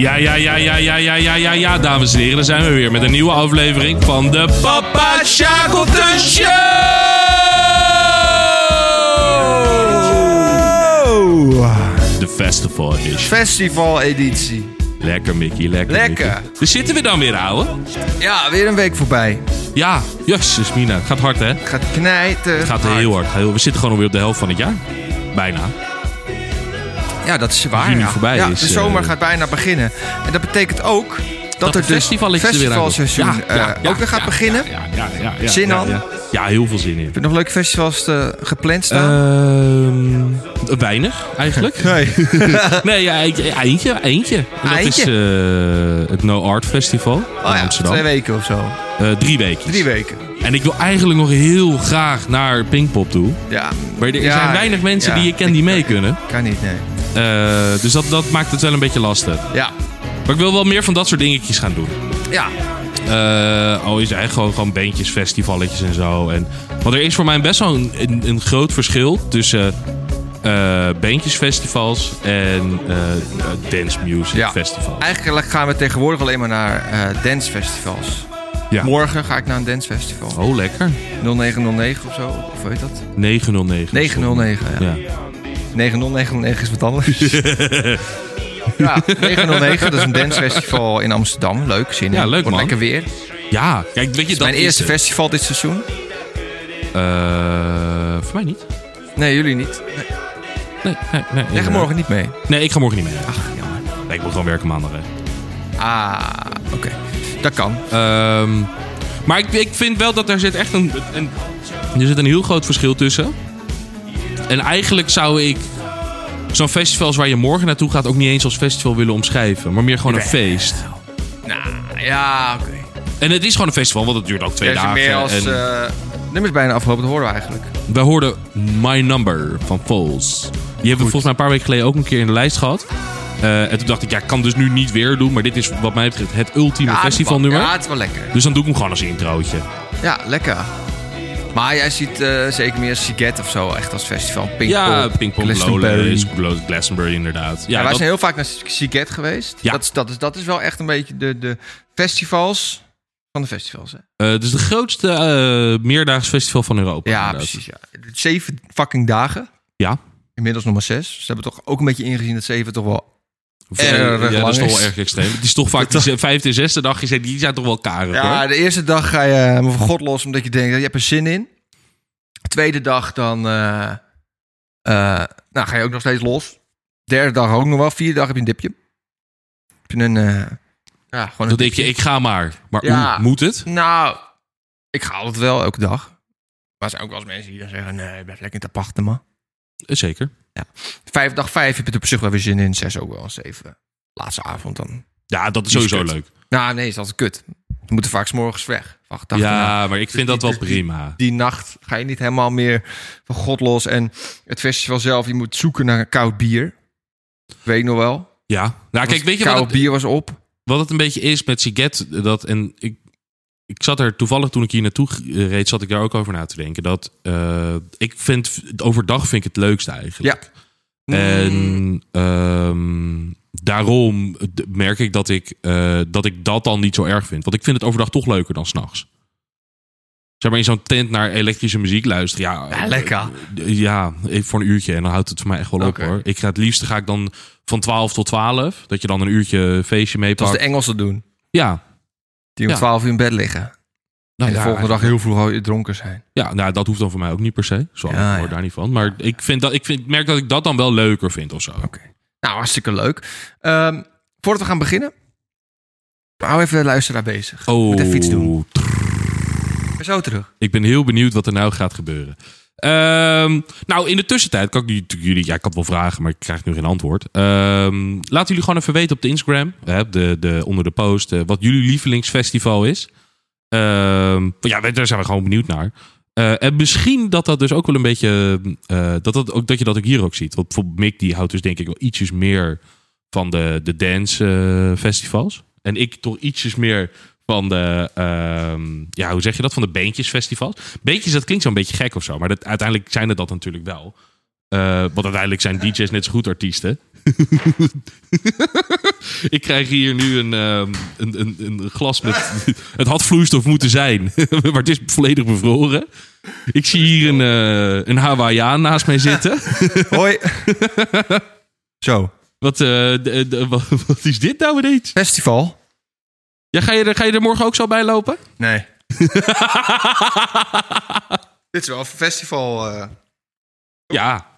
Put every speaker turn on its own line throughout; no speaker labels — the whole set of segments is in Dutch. ja, ja, ja, ja, ja, ja, dames en heren. Daar zijn we weer met een nieuwe aflevering van de Papa Shackleton Show! De festival edition.
Festivaleditie.
Lekker, Mickey, lekker.
Lekker.
Mickey. Daar zitten we dan weer, ouwe.
Ja, weer een week voorbij.
Ja, jezus, Mina. Het gaat hard, hè?
Het gaat knijten.
Het gaat heel hard. Heel- We zitten gewoon alweer op de helft van het jaar. Bijna.
Ja, dat is waar.
Juni
ja.
voorbij
ja,
is,
de zomer
eh,
gaat bijna beginnen. En dat betekent ook dat,
Dat
er
het
dus
festivaletje er weer aankomt.
festivalseizoen
Ja, ja,
eh,
ja,
ook weer gaat
ja,
beginnen.
Ja, ja, ja, ja,
Zin
ja,
al?
ja. Ja, heel veel zin in.
Heb je nog leuke festivals eh, gepland staan?
Ehm weinig, eigenlijk.
nee.
Nee, ja, e- e- eentje, eentje. En dat
Eentje?
is eh, het No Art Festival
Oh
in
ja,
Amsterdam.
twee weken of zo.
Eh, drie weken.
Drie weken.
En ik wil eigenlijk nog heel graag naar Pinkpop toe.
Ja,
Maar er
Ja,
zijn weinig mensen
ja.
die je kent die mee kunnen.
kan niet, nee.
Eh, dus dat, dat maakt het wel een beetje lastig.
Ja.
Maar ik wil wel meer van dat soort dingetjes gaan doen.
Ja.
Eh, al is het eigenlijk gewoon, gewoon bandjes, festivalletjes en zo. En, want er is voor mij best wel een, een, een groot verschil tussen eh bandjesfestivals en eh, eh, dance music
Ja.
festivals.
Eigenlijk gaan we tegenwoordig alleen maar naar eh dancefestivals.
Ja.
Morgen ga ik naar een dancefestival.
Oh, lekker.
0909 of zo, of weet dat?
909.
909, ja.
Ja.
90909 is wat anders. ja, 909, dat is een dancefestival in Amsterdam. Leuk, zin in.
Ja, leuk,
Wordt
man.
lekker weer.
ja, kijk, weet je,
Het is
dat
mijn
is
eerste
het.
festival dit seizoen.
Eh, voor mij niet.
Nee, jullie niet. Nee,
Nee, nee, nee.
Jij gaat morgen niet mee.
Nee, ik ga morgen niet mee. Ach,
jammer.
nee, ik moet gewoon werken maandag, hè.
Ah, oké. Dat kan.
Ehm, maar ik, ik vind wel dat er zit echt een, een, er zit een heel groot verschil tussen. En eigenlijk zou ik zo'n festivals waar je morgen naartoe gaat ook niet eens als festival willen omschrijven. Maar meer gewoon een feest.
Nou, ja, oké.
En het is gewoon een festival, want het duurt ook twee
Er is
dagen.
meer als...
en
eh, nummers bijna afgelopen, dat horen we eigenlijk.
We hoorden My Number van Falls. Die hebben we volgens mij een paar weken geleden ook een keer in de lijst gehad. Eh, en toen dacht ik, ja, ik kan dus nu niet weer doen. Maar dit is wat mij betreft het ultieme
Ja,
festivalnummer.
Ah, Ja, het is wel lekker.
Dus dan doe ik hem gewoon als introotje.
Ja, lekker. Maar jij ziet eh, zeker meer Siget of zo, echt als festival. Pinkpop,
Ja, Pinkpop,
Glastonbury.
Lowlands, Glo- Glastonbury inderdaad. Ja,
Ja, wij
dat-
zijn heel vaak naar Siget geweest.
Ja.
Dat, is, dat, is, dat is wel echt een beetje de, de festivals van de festivals. Hè?
eh, het is de grootste eh, meerdaags festival van Europa.
Ja,
inderdaad.
precies. Ja. Zeven fucking dagen.
Ja.
Inmiddels nog maar zes. Dus Ze hebben toch ook een beetje ingezien dat zeven toch wel...
Of,
Erg
eh, ja,
lang
dat is toch wel
is.
erg extreem. Het is toch vaak de vijfde en zesde dag. je zegt, Die zijn toch wel karig
Ja,
hoor.
de eerste dag ga je helemaal van god los, omdat je denkt, je hebt er zin in. Tweede dag dan eh, eh, nou, ga je ook nog steeds los. Derde dag ook nog wel. Vierde dag heb je een dipje. Heb je een... eh, ja, gewoon een
Dan denk je, ik ga maar. Maar
Ja.
hoe moet het?
Nou, ik ga altijd wel, elke dag. Maar er zijn ook wel eens mensen die dan zeggen... Nee, blijf lekker in het aparte, man.
Eh, Zeker.
Vijf, dag vijf heb je er op zich wel weer zin in. Zes ook wel. Zeven. Laatste avond dan.
Ja, dat is
Die is
sowieso
kut.
leuk.
Nou, nee, is altijd kut. We moeten vaak 's morgens weg. Wacht, dag erna.
Ja, maar ik vind dat wel
Die- die-
prima.
Die nacht ga je niet helemaal meer van god los. En het festival zelf, je moet zoeken naar een koud bier. Weet ik nog wel.
Ja. Nou, kijk,
Want
weet je
koud
wat het,
bier was op.
wat het een beetje is met Siget? Dat, en ik, ik zat er toevallig toen ik hier naartoe g- reed, zat ik daar ook over na te denken. Dat eh, ik vind, overdag vind ik het leukste eigenlijk.
Ja. Mm.
En ehm, daarom d- merk ik dat ik, eh, dat ik dat dan niet zo erg vind. Want ik vind het overdag toch leuker dan s'nachts. Zeg maar in zo'n tent naar elektrische muziek luisteren. Ja,
Ja, lekker.
eh, Ja, ik- voor een uurtje. En dan houdt het voor mij echt wel
Oké.
op hoor. Ik ga het liefst ga ik dan van 12 tot 12. Dat je dan een uurtje feestje
Dat was de
meepakt.
Engelsen doen.
Ja. Nou,
Die om
Ja.
twaalf uur in bed liggen.
Nou,
en de
ja,
volgende dag heel vroeg al dronken zijn.
Ja, nou, dat hoeft dan voor mij ook niet per se. Zo,
Ja,
ik hoor
ja.
daar niet van. Maar ik, vind dat, ik vind, merk dat ik dat dan wel leuker vind of zo.
Nou, hartstikke leuk. Ehm, voordat we gaan beginnen, hou even de luisteraar bezig.
Oh,
Moet even iets doen. Ik ben zo terug.
Ik ben heel benieuwd wat er nou gaat gebeuren. Ehm, nou, in de tussentijd kan ik nu natuurlijk jullie... Ja, ik kan het wel vragen, maar ik krijg nu geen antwoord. Ehm laat jullie gewoon even weten op de Instagram. hè, op de, de, onder de post. eh, wat jullie lievelingsfestival is. Ehm, ja, daar zijn we gewoon benieuwd naar. Eh, en misschien dat dat dus ook wel een beetje... eh, dat, dat, ook, dat je dat ook hier ook ziet. Want bijvoorbeeld Mick die houdt dus denk ik wel ietsjes meer... van de, de dance eh, festivals. En ik toch ietsjes meer van de... ehm, ja, hoe zeg je dat? Van de beentjesfestivals. Beentjes, dat klinkt zo'n beetje gek of zo. Maar dat, uiteindelijk zijn het dat natuurlijk wel. Eh, want uiteindelijk zijn DJ's net zo goed artiesten. ik krijg hier nu een, ehm, een, een, een glas met. Het had vloeistof moeten zijn, maar het is volledig bevroren. Ik zie hier een, eh een Hawaiiaan naast mij zitten.
Hoi. Zo.
Wat, eh, de- de- wat, wat is dit nou ineens?
Festival?
Ja, ga, je er, ga je er morgen ook zo bij lopen?
Nee. Dit is wel een festival. eh.
Ja.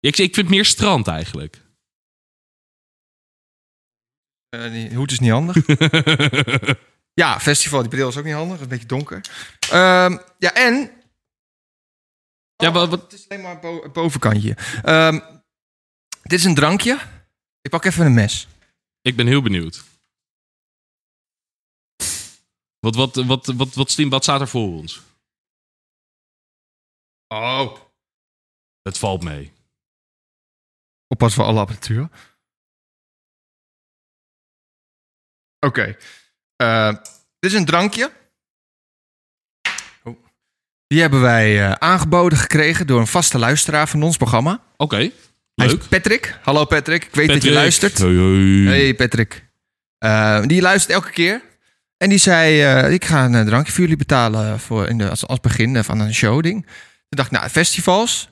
Ik, ik vind meer strand eigenlijk.
Eh, die hoed is niet handig. ja, festival. Die bril is ook niet handig. Een beetje donker. Ehm, ja, en... Oh,
Ja, wat- wat-
Het is alleen maar bo- het bovenkantje. Ehm, dit is een drankje. Ik pak even een mes.
Ik ben heel benieuwd. Wat, wat, wat, wat, wat, Stim, wat staat er voor ons?
Oh.
Het valt mee.
Oppas voor alle apparatuur. Oké. Eh, dit is een drankje. Oh. Die hebben wij eh, aangeboden gekregen door een vaste luisteraar van ons programma.
Oké,
Hij
leuk.
is Patrick. Hallo Patrick. Ik weet dat je
Patrick.
luistert.
Hoi, hoi.
Hey Patrick. Eh, die luistert elke keer. En die zei, eh, ik ga een eh, drankje voor jullie betalen eh, voor in de, als, als begin eh, van een showding. Toen dacht ik, nou, festivals.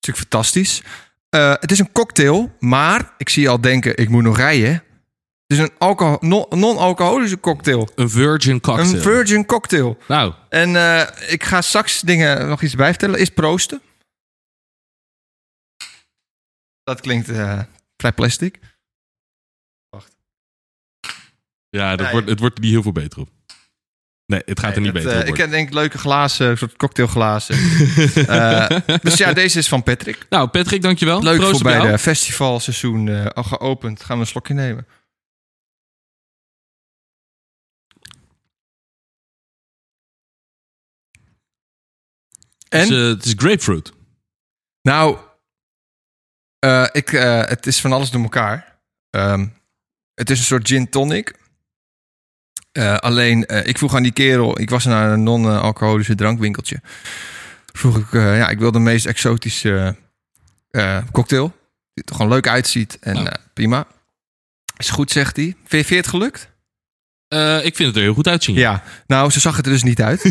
Natuurlijk fantastisch. Eh, het is een cocktail, maar ik zie je al denken, ik moet nog rijden. Het is een alcohol- non- non-alcoholische cocktail.
Een virgin cocktail.
Een virgin cocktail.
nou,
En eh, ik ga straks dingen nog iets bij vertellen. Is proosten. Dat klinkt eh, vrij plastic.
ja, dat
Nee.
wordt, het wordt er niet heel veel beter op. Nee, het gaat er niet
Dat,
beter
eh,
op
ik
worden.
ken denk ik leuke glazen, soort cocktailglazen. Eh, dus ja, deze is van Patrick.
Nou, Patrick, dankjewel.
Leuk
Proost
voor
op
bij
jou.
de festivalseizoen eh, al geopend. Gaan we een slokje nemen.
Het is,
En?
eh, het is grapefruit.
Nou, eh, ik, eh, het is van alles door elkaar. Ehm, het is een soort gin tonic. Eh, alleen, eh, ik vroeg aan die kerel, ik was naar een non-alcoholische drankwinkeltje. Vroeg ik, eh, ja, ik wil de meest exotische eh, cocktail. Die er gewoon leuk uitziet en
Nou.
eh, prima. Is goed, zegt hij. Vind je- vind je het gelukt?
Eh, ik vind het er heel goed uitzien.
Ja. Nou, ze zag het er dus niet uit.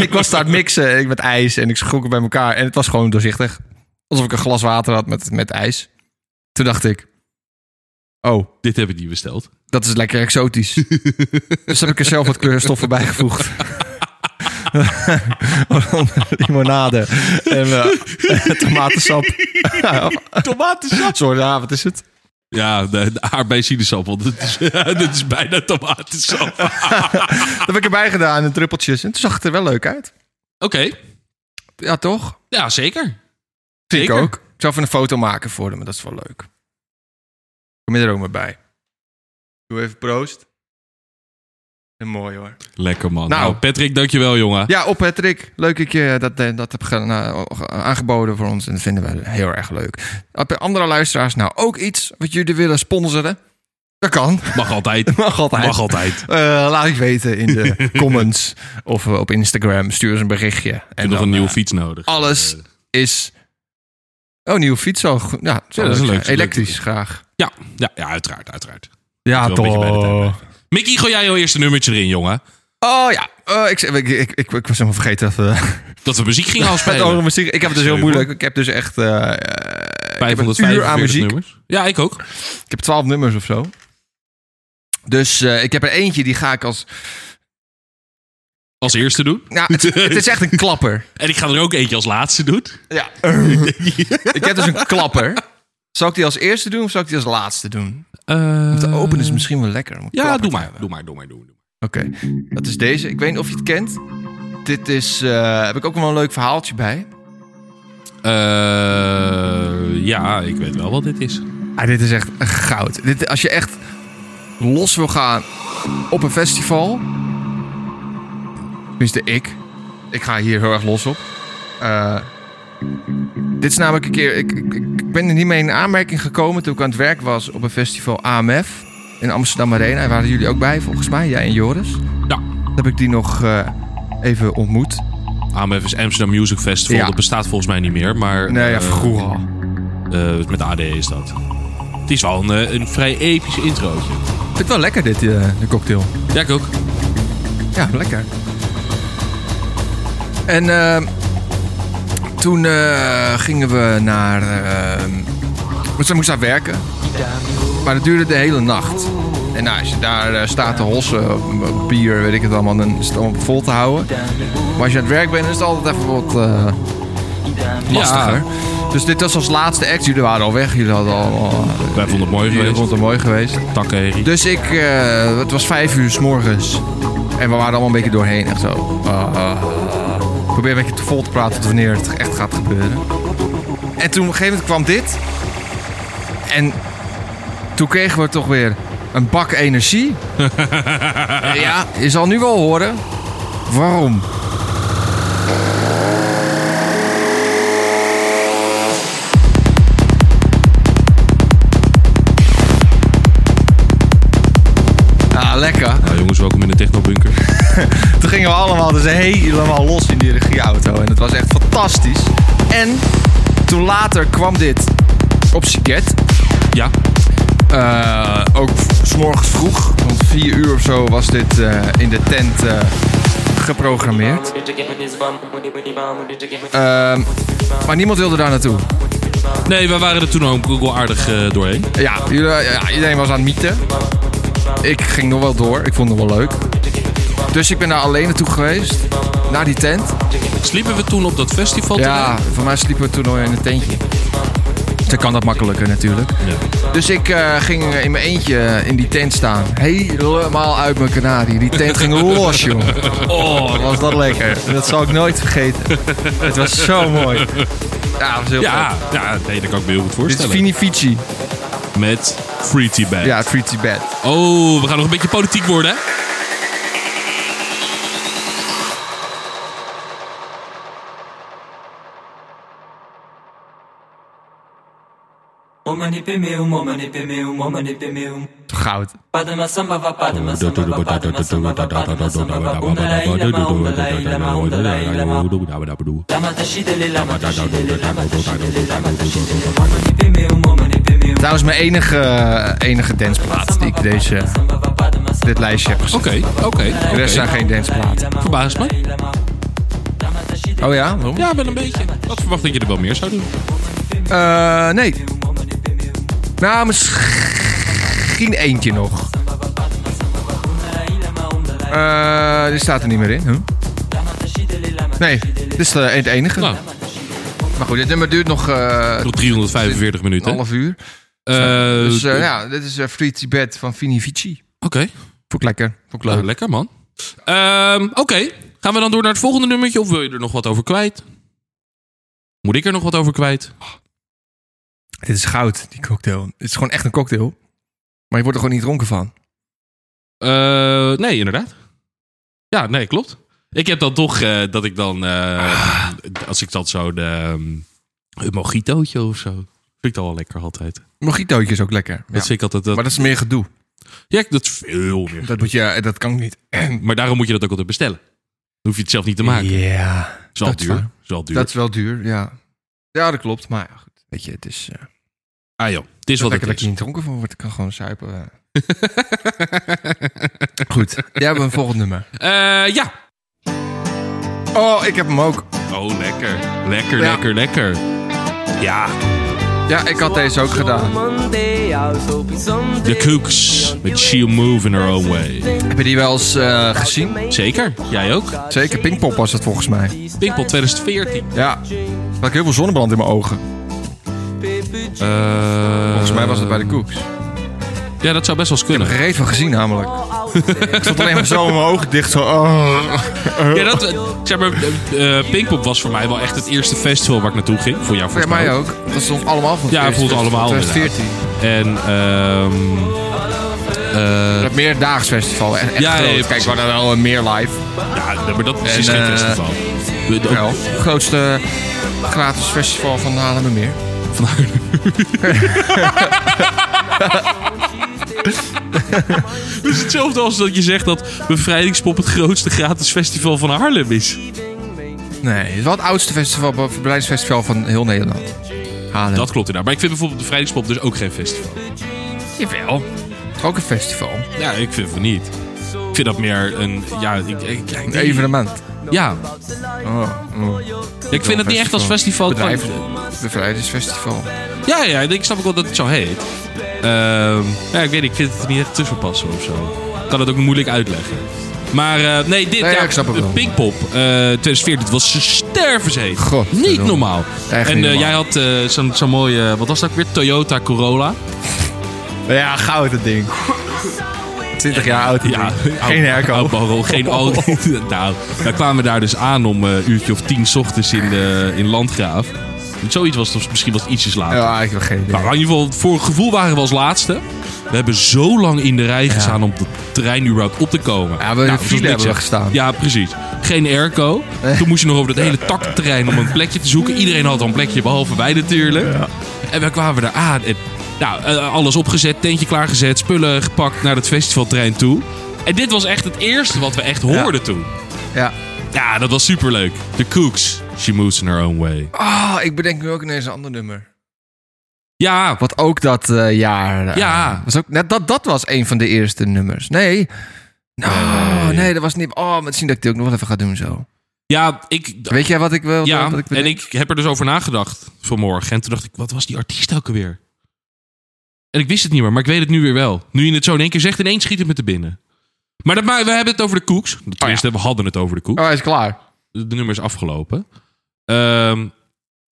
ik was daar aan het mixen ik, met ijs en ik schrok het bij elkaar. En het was gewoon doorzichtig. Alsof ik een glas water had met, met ijs. Toen dacht ik, oh,
Dit heb ik niet besteld.
dat is lekker exotisch. dus heb ik er zelf wat kleurstoffen bijgevoegd. Limonade en eh, tomatensap. tomatensap? Sorry, ja, wat is het?
Ja, de, de aardbeiensiedesap, want het is, dit is bijna tomatensap. Oké.
Dat heb ik erbij gedaan en druppeltjes. En toen zag het er wel leuk uit. Ja, toch?
Ja, zeker.
Vind ik
Zeker.
ook. Ik zal even een foto maken voor hem, maar dat is wel leuk. Kom je er ook maar bij. Doe even proost. En mooi hoor.
Lekker man. Nou,
Nou.
Patrick, dankjewel jongen.
Ja, op Patrick. Leuk dat je dat, eh, dat hebt ge- nou, ge- aangeboden voor ons. En dat vinden we heel erg leuk. Heb je andere luisteraars nou ook iets wat jullie willen sponsoren? Dat kan.
Mag altijd.
Mag altijd.
Mag altijd.
Eh, laat ik weten in de comments of eh, op Instagram. Stuur eens een berichtje. En
Ik heb nog
dan,
een nieuwe
eh,
fiets nodig.
alles.
Eh,
is. Oh, nieuwe fiets al. goed. Ja,
Ja, dat is
leuk
een
zijn.
leuk- leuk
Elektrisch
idee.
graag.
ja, ja, ja, uiteraard, uiteraard.
Ja,
Wel een beetje bij de tijd blijven. Mickey, gooi jij jouw eerste nummertje erin, jongen.
Oh ja, Eh, ik, ik, ik, ik, ik was helemaal vergeten dat we
Dat we muziek gingen
met
afspelen.
andere muziek. Ik heb het dus heel moeilijk. Ik heb dus echt eh eh, ik heb een
545
uur aan muziek.
nummers. Ja, ik ook.
Ik heb twaalf nummers of zo. Dus eh, ik heb er eentje die ga ik als.
Als eerste doen.
Nou, het, het is echt een klapper.
En ik ga er ook eentje als laatste doen.
Ja. ik heb dus een klapper. Zal ik die als eerste doen of zal ik die als laatste doen?
Eh,
Om te openen is misschien wel lekker. om een
Ja,
klapper
doe
te
maar.
hebben.
Doe maar, doe maar, doe maar. doe maar.
Oké, dat is deze. Ik weet niet of je het kent. Dit is. eh, heb ik ook wel een leuk verhaaltje bij.
Eh, ja, ik weet wel wat dit is.
Ah, dit is echt goud. Dit, als je echt los wil gaan op een festival. Tenminste, ik. Ik ga hier heel erg los op. Eh, dit is namelijk een keer. Ik, ik, ik ben er niet mee in aanmerking gekomen toen ik aan het werk was op een festival AMF in Amsterdam Arena. Daar waren jullie ook bij, volgens mij, jij en Joris.
Ja.
Heb ik die nog eh, even ontmoet.
AMF is Amsterdam Music Festival.
Ja.
Dat bestaat volgens mij niet meer. Maar
Nee, ja,
eh,
vroeger al.
eh, met AD is dat. Het is wel een, eh, een vrij episch introotje.
Ik vind het wel lekker, dit, eh, de cocktail.
Ja, ik ook.
Ja, lekker. En eh, toen eh, gingen we naar... eh, want ze moest daar werken. Maar dat duurde de hele nacht. En nou, als je daar eh, staat te hossen, op een- op bier, weet ik het allemaal, dan is het allemaal vol te houden. Maar als je aan het werk bent, dan is het altijd even wat eh, lastiger. Dus dit was als laatste act. Jullie waren al weg. Jullie hadden al... eh,
Wij vonden het mooi
jullie
geweest.
vonden het mooi geweest.
Takken, Harry.
Dus ik, eh, het was vijf uur s morgens. En we waren allemaal een beetje doorheen en zo. Ah, ah, ah. Ik probeer een beetje te vol te praten tot wanneer het echt gaat gebeuren. En toen op een gegeven moment kwam dit. En toen kregen we toch weer een bak energie. ja, je zal nu wel horen waarom. Ah, lekker.
Nou, jongens, welkom in de technobunker.
Toen gingen we allemaal dus helemaal los in die regieauto. En het was echt fantastisch. En toen later kwam dit op Siget.
Ja,
Eh, ook s'morgens vroeg, want vier uur of zo was dit eh, in de tent eh, geprogrammeerd. Ehm, maar niemand wilde daar naartoe.
nee, we waren er toen ook ook wel aardig eh, doorheen.
Ja, ieder- ja, iedereen was aan het mieten. Ik ging nog wel door, ik vond het wel leuk. Dus ik ben daar alleen naartoe geweest, naar die tent.
Sliepen we toen op dat festival?
Ja,
terrein?
voor mij sliepen we toen al in een tentje. Dan kan dat makkelijker natuurlijk.
Ja.
Dus ik eh, ging in mijn eentje eh, in die tent staan. Helemaal uit mijn kanarie. Die tent ging los, joh. Oh, was dat lekker. Dat zal ik nooit vergeten. Het was zo mooi. Ja, het was heel
Ja,
vet.
ja, nee, dat kan ik me heel goed
Dit is
voorstellen.
Fini Fici.
Met Free Tea Bag.
Ja, het Free Tibet.
Oh, we gaan nog een beetje politiek worden, hè?
Goud. Trouwens, mijn enige, enige dansplaat die ik deze, dit lijstje heb gezet.
Oké, oké.
De
oké.
rest zijn geen dansplaten.
Verbaast me.
Oh ja? Waarom?
Ja, wel een beetje. Wat verwacht dat je er wel meer zou doen.
Eh, nee. Nou, misschien eentje nog. Eh, die staat er niet meer in. Huh? Nee, dit is eh, het enige.
Nou,
Maar goed, dit nummer duurt nog eh,
nog 345 minuten.
een half uur.
Eh,
Dus eh,
eh,
ja, dit is eh Free Tibet van Vini Vici.
Oké,
Vond ik lekker. Vond ik
Nou,
leuk.
lekker man. Ehm, Oké, gaan we dan door naar het volgende nummertje of wil je er nog wat over kwijt? Moet ik er nog wat over kwijt?
Dit is goud, die cocktail. Dit is gewoon echt een cocktail. Maar je wordt er gewoon niet dronken van.
Eh, nee, inderdaad. Ja, nee, klopt. Ik heb dan toch eh, dat ik dan, eh,
Ah.
als ik dat zo, de, ehm, een mojitootje of zo. Vind ik dat wel lekker altijd.
Mojitootje is ook lekker.
Dat
Ja.
vind ik altijd. Dat,
Maar dat is meer gedoe.
ja, dat is veel meer.
Dat, moet je, dat kan ik niet.
Maar daarom moet je dat ook altijd bestellen. Dan hoef je het zelf niet te maken.
Ja.
is wel
dat is
duur.
waar.
Is wel duur.
Dat is wel duur, ja. Ja, dat klopt. Maar ja, goed. Weet je, het is... eh
Ah joh, het is wat
lekker
het
dat je
is.
niet dronken van wordt. Ik kan gewoon suipen. eh. goed. Jij hebt een volgend nummer.
Eh, ja.
Oh, ik heb hem ook.
Oh, lekker. Lekker,
Ja.
lekker, lekker. Ja,
Ja, ik had deze ook gedaan.
de Kooks met She'll Move in Her Own Way.
Heb je die wel eens eh, gezien?
Zeker, jij ook.
Zeker Pinkpop was dat volgens mij.
Pinkpot 2014.
Ja. Had ik heel veel zonnebrand in mijn ogen. Volgens mij was het bij de Koeks. Ik
Eh, Ja, dat zou best wel eens
heb er
kunnen.
geen reet van gezien namelijk. ik stond alleen maar zo in mijn ogen dicht. Zo, oh.
Ja, dat, zeg maar, eh, Pinkpop was voor mij wel echt het eerste festival waar ik naartoe ging. Voor jou
Voor
volgens
mij
mij ook.
ook. Dat stond allemaal van
Ja, voelt allemaal. inderdaad.
2014.
En ehm eh,
Dat meerdaags festival. En echt
Ja,
groot.
ja, ja,
Kijk,
precies.
we hadden wel een meer live.
Ja, nee, maar dat is
En,
geen
eh,
festival. We- ook-
Wel, het grootste gratis festival van Haarlemmermeer.
van Haarlem. Het is hetzelfde als dat je zegt dat Bevrijdingspop het grootste gratis festival van Haarlem is.
Nee, het is wel het oudste festival, verbreidingsfestival van heel Nederland. Haarlem.
Dat klopt inderdaad. Maar ik vind bijvoorbeeld de Vrijdagspop dus ook geen festival.
Jawel. Ook een festival.
Ja, ik vind van niet. Ik vind dat meer een... Ja, ik, ik, ik-
Een evenement.
Ja,
Oh, oh.
ik vind het niet echt als festival.
Bedrijf,
kwalificeer.
bevrijdingsfestival.
Ja, ja, ik snap ook wel dat het zo heet. Ehm, ja, ik weet niet, ik vind het er niet echt tussen passen of zo. Ik kan het ook moeilijk uitleggen. Maar eh, nee, dit,
Nee,
ja,
ik snap het
de
wel.
Pinkpop eh 2014, dit was stervensheet.
God,
niet
verdomme.
normaal.
Echt
en
niet
eh,
normaal.
jij had eh, zo'n zo'n mooie, wat was dat ook weer? Toyota Corolla.
Ja, gouden ding. 20 jaar oud.
Ja,
Geen
Oud
airco.
barrel, geen auto. nou, wij kwamen daar dus aan om eh, een uurtje of tien 's ochtends in, eh, in Landgraaf. Zoiets was het, misschien was het ietsjes later.
Ja, ik heb geen idee.
Nou, in ieder geval, voor het gevoel waren we als laatste. We hebben zo lang in de rij gestaan om op de trein überhaupt op te komen.
Ja, we in de
het was
file
niks,
hebben we
hè.
gestaan.
Ja, precies. Geen airco. Toen moest je nog over dat hele takterrein om een plekje te zoeken. Iedereen had al een plekje, behalve wij natuurlijk. En we kwamen daar aan. En, nou, eh, alles opgezet, tentje klaargezet, spullen gepakt naar het festivalterrein toe. En dit was echt het eerste wat we echt hoorden toen.
Ja.
Ja, dat was superleuk. The Cooks, She Moves in Her Own Way.
Ah, ik bedenk nu ook ineens een ander nummer.
Ja,
Wat ook dat eh, jaar. eh,
Ja.
Was ook, net dat, dat was een van de eerste nummers. Nee. Nou,
Nee.
nee, dat was niet. Oh, misschien dat ik dit ook nog wel even ga doen zo.
ja ik,
Weet jij wat ik wil?
Ja,
wat ik
en
bedenk?
ik heb er dus over nagedacht vanmorgen. En toen dacht ik, wat was die artiest ook alweer? En ik wist het niet meer, maar ik weet het nu weer wel. Nu je het zo in één keer zegt, ineens schiet het me te binnen. Maar dat, ma- we hebben het over de Koeks. Tenminste, we hadden het over de Koeks.
Oh, hij is klaar.
De de nummer is afgelopen. Ehm,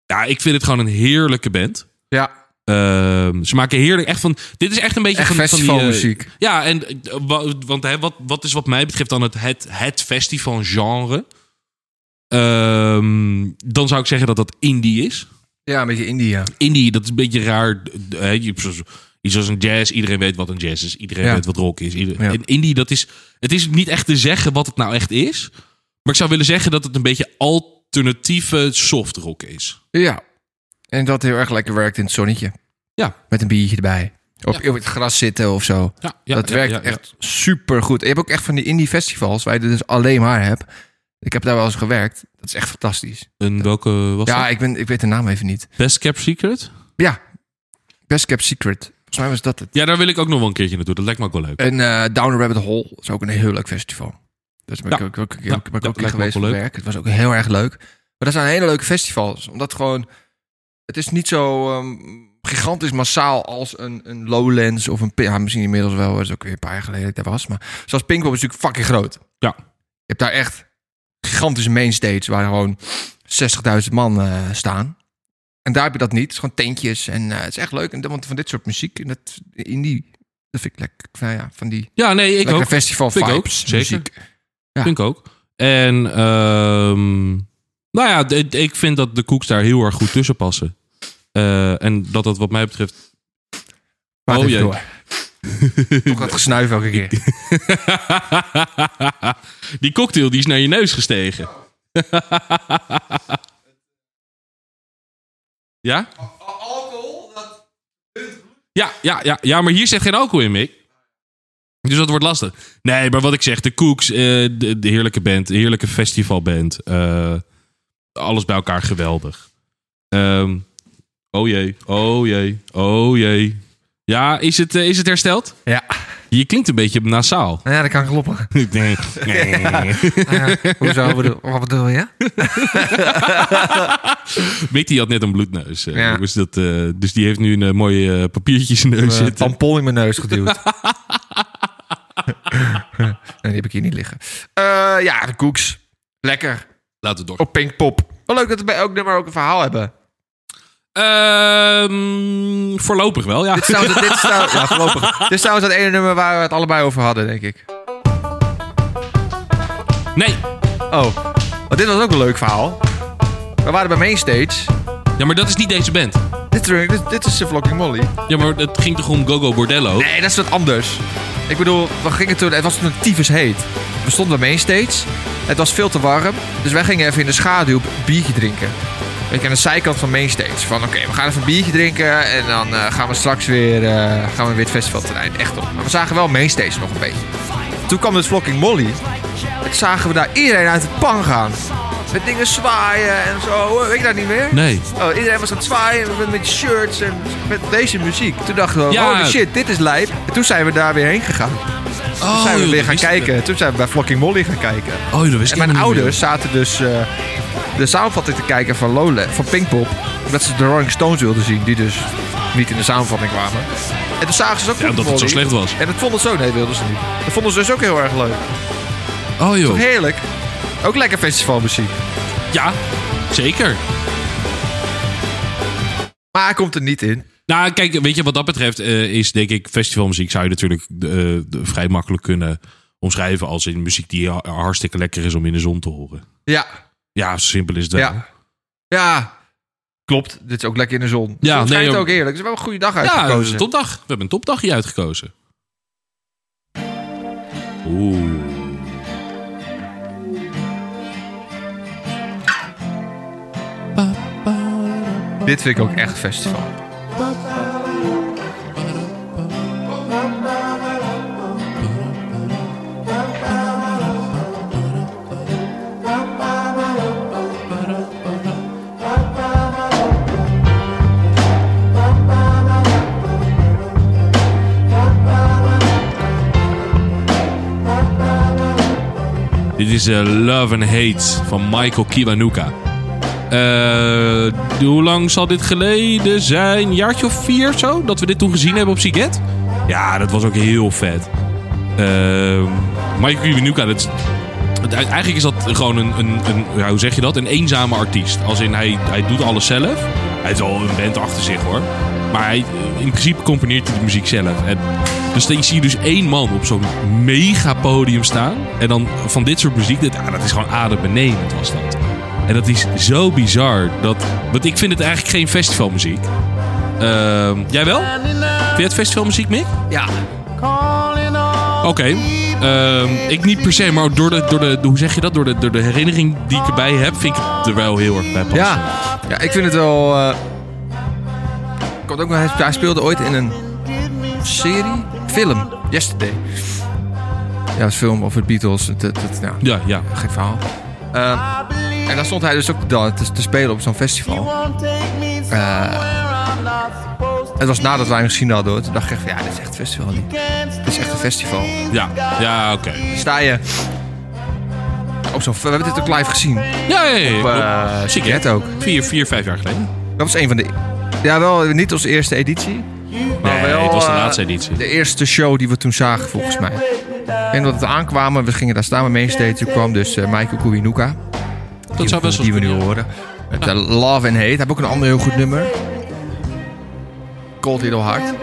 ja, ik vind het gewoon een heerlijke band.
Ja.
Ehm, ze maken heerlijk echt van... Dit is echt een beetje van,
Echt
van die, eh,
festivalmuziek.
ja, en, eh, wa- want hè, wat, wat is wat mij betreft dan het, het, het festivalgenre? Ehm, dan zou ik zeggen dat dat indie is.
ja, een beetje India.
Indie, dat is een beetje raar. d- d- hè, je- zoals- Iets als een jazz, iedereen weet wat een jazz is. Iedereen
Ja.
weet wat rock is. Ieder-
Ja.
En indie, dat is, het is niet echt te zeggen wat het nou echt is. Maar ik zou willen zeggen dat het een beetje alternatieve soft rock is.
Ja. En dat heel erg lekker werkt in het zonnetje.
Ja.
Met een biertje erbij. Op, op het gras zitten of zo.
Ja, ja,
dat
ja,
werkt
ja, ja.
echt super goed. Je hebt ook echt van die indie festivals waar je dit dus alleen maar hebt. Ik heb daar wel eens gewerkt. Dat is echt fantastisch.
En welke was
ja,
dat?
ik, ben, ik weet de naam even niet.
Best Kept Secret?
Ja. Best Kept Secret. Volgens mij was dat het.
Ja, daar wil ik ook nog wel een keertje naartoe. Dat lijkt me ook wel leuk.
En eh Down the Rabbit Hole is ook een heel leuk festival. Dus ben ik
Ja.
ook, ook, ook,
Ja,
ben ik
dat
ook een keer
lijkt me ook
geweest
wel
op
leuk.
werk. Het was ook heel erg leuk. Maar dat zijn hele leuke festivals. Omdat gewoon... Het is niet zo ehm, gigantisch massaal als een, een Lowlands of een... Pin- Ja, misschien inmiddels wel. Dat is ook weer een paar jaar geleden dat ik daar was. Maar zoals Pinkpop is natuurlijk fucking groot.
Ja.
Je hebt daar echt gigantische mainstage waar gewoon 60.000 man eh, staan. En daar heb je dat niet. Het is gewoon tentjes. En eh, het is echt leuk. En dan- want van dit soort muziek. En dat, in die, dat vind ik lekker. Nou ja, van die
Ja, nee, ik
lekker
ook.
festival
Vind ik ook,
vibes.
zeker.
muziek. Ja.
Vind ik ook. En ehm, nou ja, d- ik vind dat de koeks daar heel erg goed tussen passen. Eh, en dat dat wat mij betreft...
Maar
Oh,
oh
jee.
jee. Door. Toch dat gesnuif elke keer.
die cocktail die is naar je neus gestegen. ja?
Alcohol, dat...
Ja, ja, ja, ja, maar hier zit geen alcohol in, Mick. Dus dat wordt lastig. Nee, maar wat ik zeg, de Cooks, eh, de, de heerlijke band, de heerlijke festivalband. eh, alles bij elkaar geweldig. Ehm, oh jee, oh jee, oh jee. Ja, is het, eh, is het hersteld?
Ja.
Je klinkt een beetje nasaal.
Nou ja, dat kan kloppen.
Ik denk,
Nou ja, hoezo? Bedoel- Wat bedoel je?
Mick die had net een bloedneus. eh,
Ja.
dus, dat, eh, dus die heeft nu een eh, mooie eh, papiertje in zijn
Ik
neus
heb een
zitten.
tampon in mijn neus geduwd. nee, die heb ik hier niet liggen. Eh, ja, de koeks. Lekker.
Laten we door.
Op Pinkpop. Wel leuk dat we bij elk nummer ook een verhaal hebben.
Ehm, voorlopig wel, ja.
Dit is trouwens, dit is nou- trouwens, ja, voorlopig. Dit is trouwens dat ene nummer waar we het allebei over hadden, denk ik.
Nee,
Oh, want dit was ook een leuk verhaal. We waren bij Mainstage.
Ja, maar dat is niet deze band.
Dit, is- dit, dit is de Vlogging Molly.
Ja, maar het ging toch om Gogo Bordello?
Nee, dat is wat anders. Ik bedoel, we gingen toen, het was toen tyfus heet. We stonden bij Mainstage. Het was veel te warm. Dus wij gingen even in de schaduw een biertje drinken. Ik aan de zijkant van Mainstage. Van oké, we gaan even een biertje drinken. En dan eh, gaan we straks weer, eh, gaan we weer het festivalterrein. Echt op. Maar we zagen wel Mainstage nog een beetje. Toen kwam dus Vlocking Molly. En toen zagen we daar iedereen uit de pan gaan. Met dingen zwaaien en zo. Weet je dat niet meer?
Nee.
Oh, iedereen was aan het zwaaien met, met shirts en met deze muziek. Toen dachten we,
Ja.
oh shit, dit is lijp. En toen zijn we daar weer heen gegaan. Toen
Oh,
zijn we
joh,
weer
dat
gaan
wist ik
kijken. Toen zijn we bij Flocking Molly gaan kijken.
niet. Oh, joh, dat wist
En
ik
mijn
helemaal niet
ouders zaten dus eh, de samenvatting te kijken van Lola, van Pinkpop. Omdat ze de Rolling Stones wilden zien, die dus niet in de samenvatting kwamen. En toen zagen ze dus ook
Ja, omdat het zo slecht was.
En dat vonden ze ook, nee, wilden ze niet. Dat vonden ze dus ook heel erg leuk.
meer. Oh, joh.
Heerlijk. Ook lekker festivalmuziek.
Ja, zeker.
Maar hij komt er niet in.
Nou, kijk, weet je, wat dat betreft eh, is denk ik festivalmuziek zou je natuurlijk eh, de- vrij makkelijk kunnen omschrijven als in muziek die ha- hartstikke lekker is om in de zon te horen.
Ja,
Ja, zo simpel is dat.
ja. Ja. Klopt, dit is ook lekker in de zon.
Ja,
Ja, het schijnt
nee,
ook eerlijk. Dus we hebben een goede dag
ja we hebben
uitgekozen.
een topdag. We hebben een topdagje uitgekozen. Oeh.
Dit vind ik ook echt festival.
Dit is eh, Love and Hate van Michael Kiwanuka. Eh, hoe lang zal dit geleden zijn? Een jaartje of vier of zo? Dat we dit toen gezien hebben op Siget? Ja, dat was ook heel vet. Eh, Michael Kiwanuka, dat is- het- eigenlijk is dat gewoon een, een, een ja, hoe zeg je dat? Een eenzame artiest. Als in, hij, hij doet alles zelf. Hij heeft al een band achter zich hoor. Maar hij, in principe componeert hij de muziek zelf. En, dus dan zie je dus één man op zo'n mega podium staan. En dan van dit soort muziek, dat, ah, dat is gewoon adembenemend was dat. En dat is zo bizar. Dat, want ik vind het eigenlijk geen festivalmuziek. Ehm, jij wel? Vind je het festivalmuziek, Mick?
Ja.
Oké. Ehm, ik niet per se, maar door de, door de, hoe zeg je dat? Door de, door de herinnering die ik erbij heb, vind ik het er wel heel erg bij passen.
Ja, ja ik vind het wel. eh, komt ook wel. hij- Hij speelde ooit in een serie, film, Yesterday. Ja, een film over de Beatles. Dat, dat, nou,
Ja, ja.
gek verhaal. Eh, en daar stond hij dus ook dan te, te spelen op zo'n festival. Eh, het was nadat wij hem gezien hadden. hoor. Toen dacht ik echt van, ja, dit is echt een festival. niet. Dit is echt een festival.
Ja, ja oké.
Sta je op zo'n... We hebben dit ook live gezien.
Ja, ja, ja.
Op,
ja.
eh,
Klopt. Zie ik
Siget
het.
ook.
Vier, vier, vijf jaar geleden.
Dat was een van de... Ja, wel niet onze eerste editie. Maar
Nee,
wel,
het was de
eh,
laatste editie.
De eerste show die we toen zagen, volgens mij. En dat we aankwamen, we gingen daar staan met mainstage. Toen kwam dus eh, Michael Kuinuka.
Dat zou best wel
Die we nu
kunnen.
horen. Met eh, Love and Hate. Hij heeft ook een ander heel goed nummer. Cold Little Heart.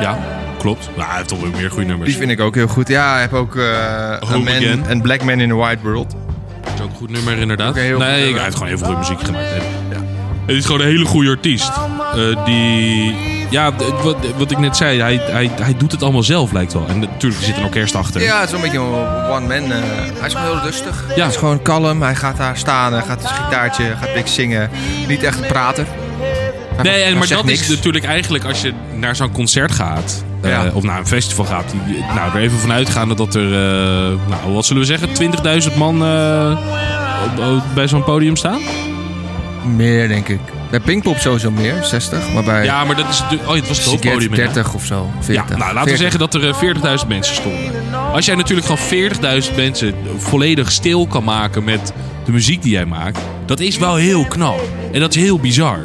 Ja, klopt. Nou, hij heeft toch weer meer goede nummers.
Die vind ik ook heel goed. Ja, hij heeft ook eh
Home
een man,
Again.
een Black Man in the Wide World.
Dat is ook een goed nummer, inderdaad.
Ook een heel goed
nee,
nummer.
hij heeft gewoon heel veel goede muziek gemaakt. hè. Het is gewoon een hele goede artiest. Eh, die... Ja, d- wat, wat ik net zei, hij, hij, hij doet het allemaal zelf, lijkt wel. En natuurlijk er zit een orkest achter.
Ja, het is wel een beetje een one-man. eh, hij is gewoon heel rustig.
Ja.
Hij is gewoon kalm. Hij gaat daar staan. Hij gaat zijn gitaartje, gaat niks zingen. Niet echt praten. Hij-
Nee,
hij
en, maar
zegt
dat
niks.
is natuurlijk eigenlijk als je naar zo'n concert gaat. eh,
Ja.
Of naar een festival gaat. die- die- Nou, er even vanuit gaan dat er, eh, nou, wat zullen we zeggen, 20.000 man eh, op- op- bij zo'n podium staan?
Meer, denk ik. Bij Pinkpop sowieso meer, 60. Maar bij
Ja, maar dat is natuurlijk... Oh, het was het
Siget
hoofdpodium. inderdaad.
30 of zo. 40.
Ja, nou, laten
40.
we zeggen dat er eh, 40.000 mensen stonden. Als jij natuurlijk gewoon 40.000 mensen volledig stil kan maken met de muziek die jij maakt, dat is wel heel knap. En dat is heel bizar.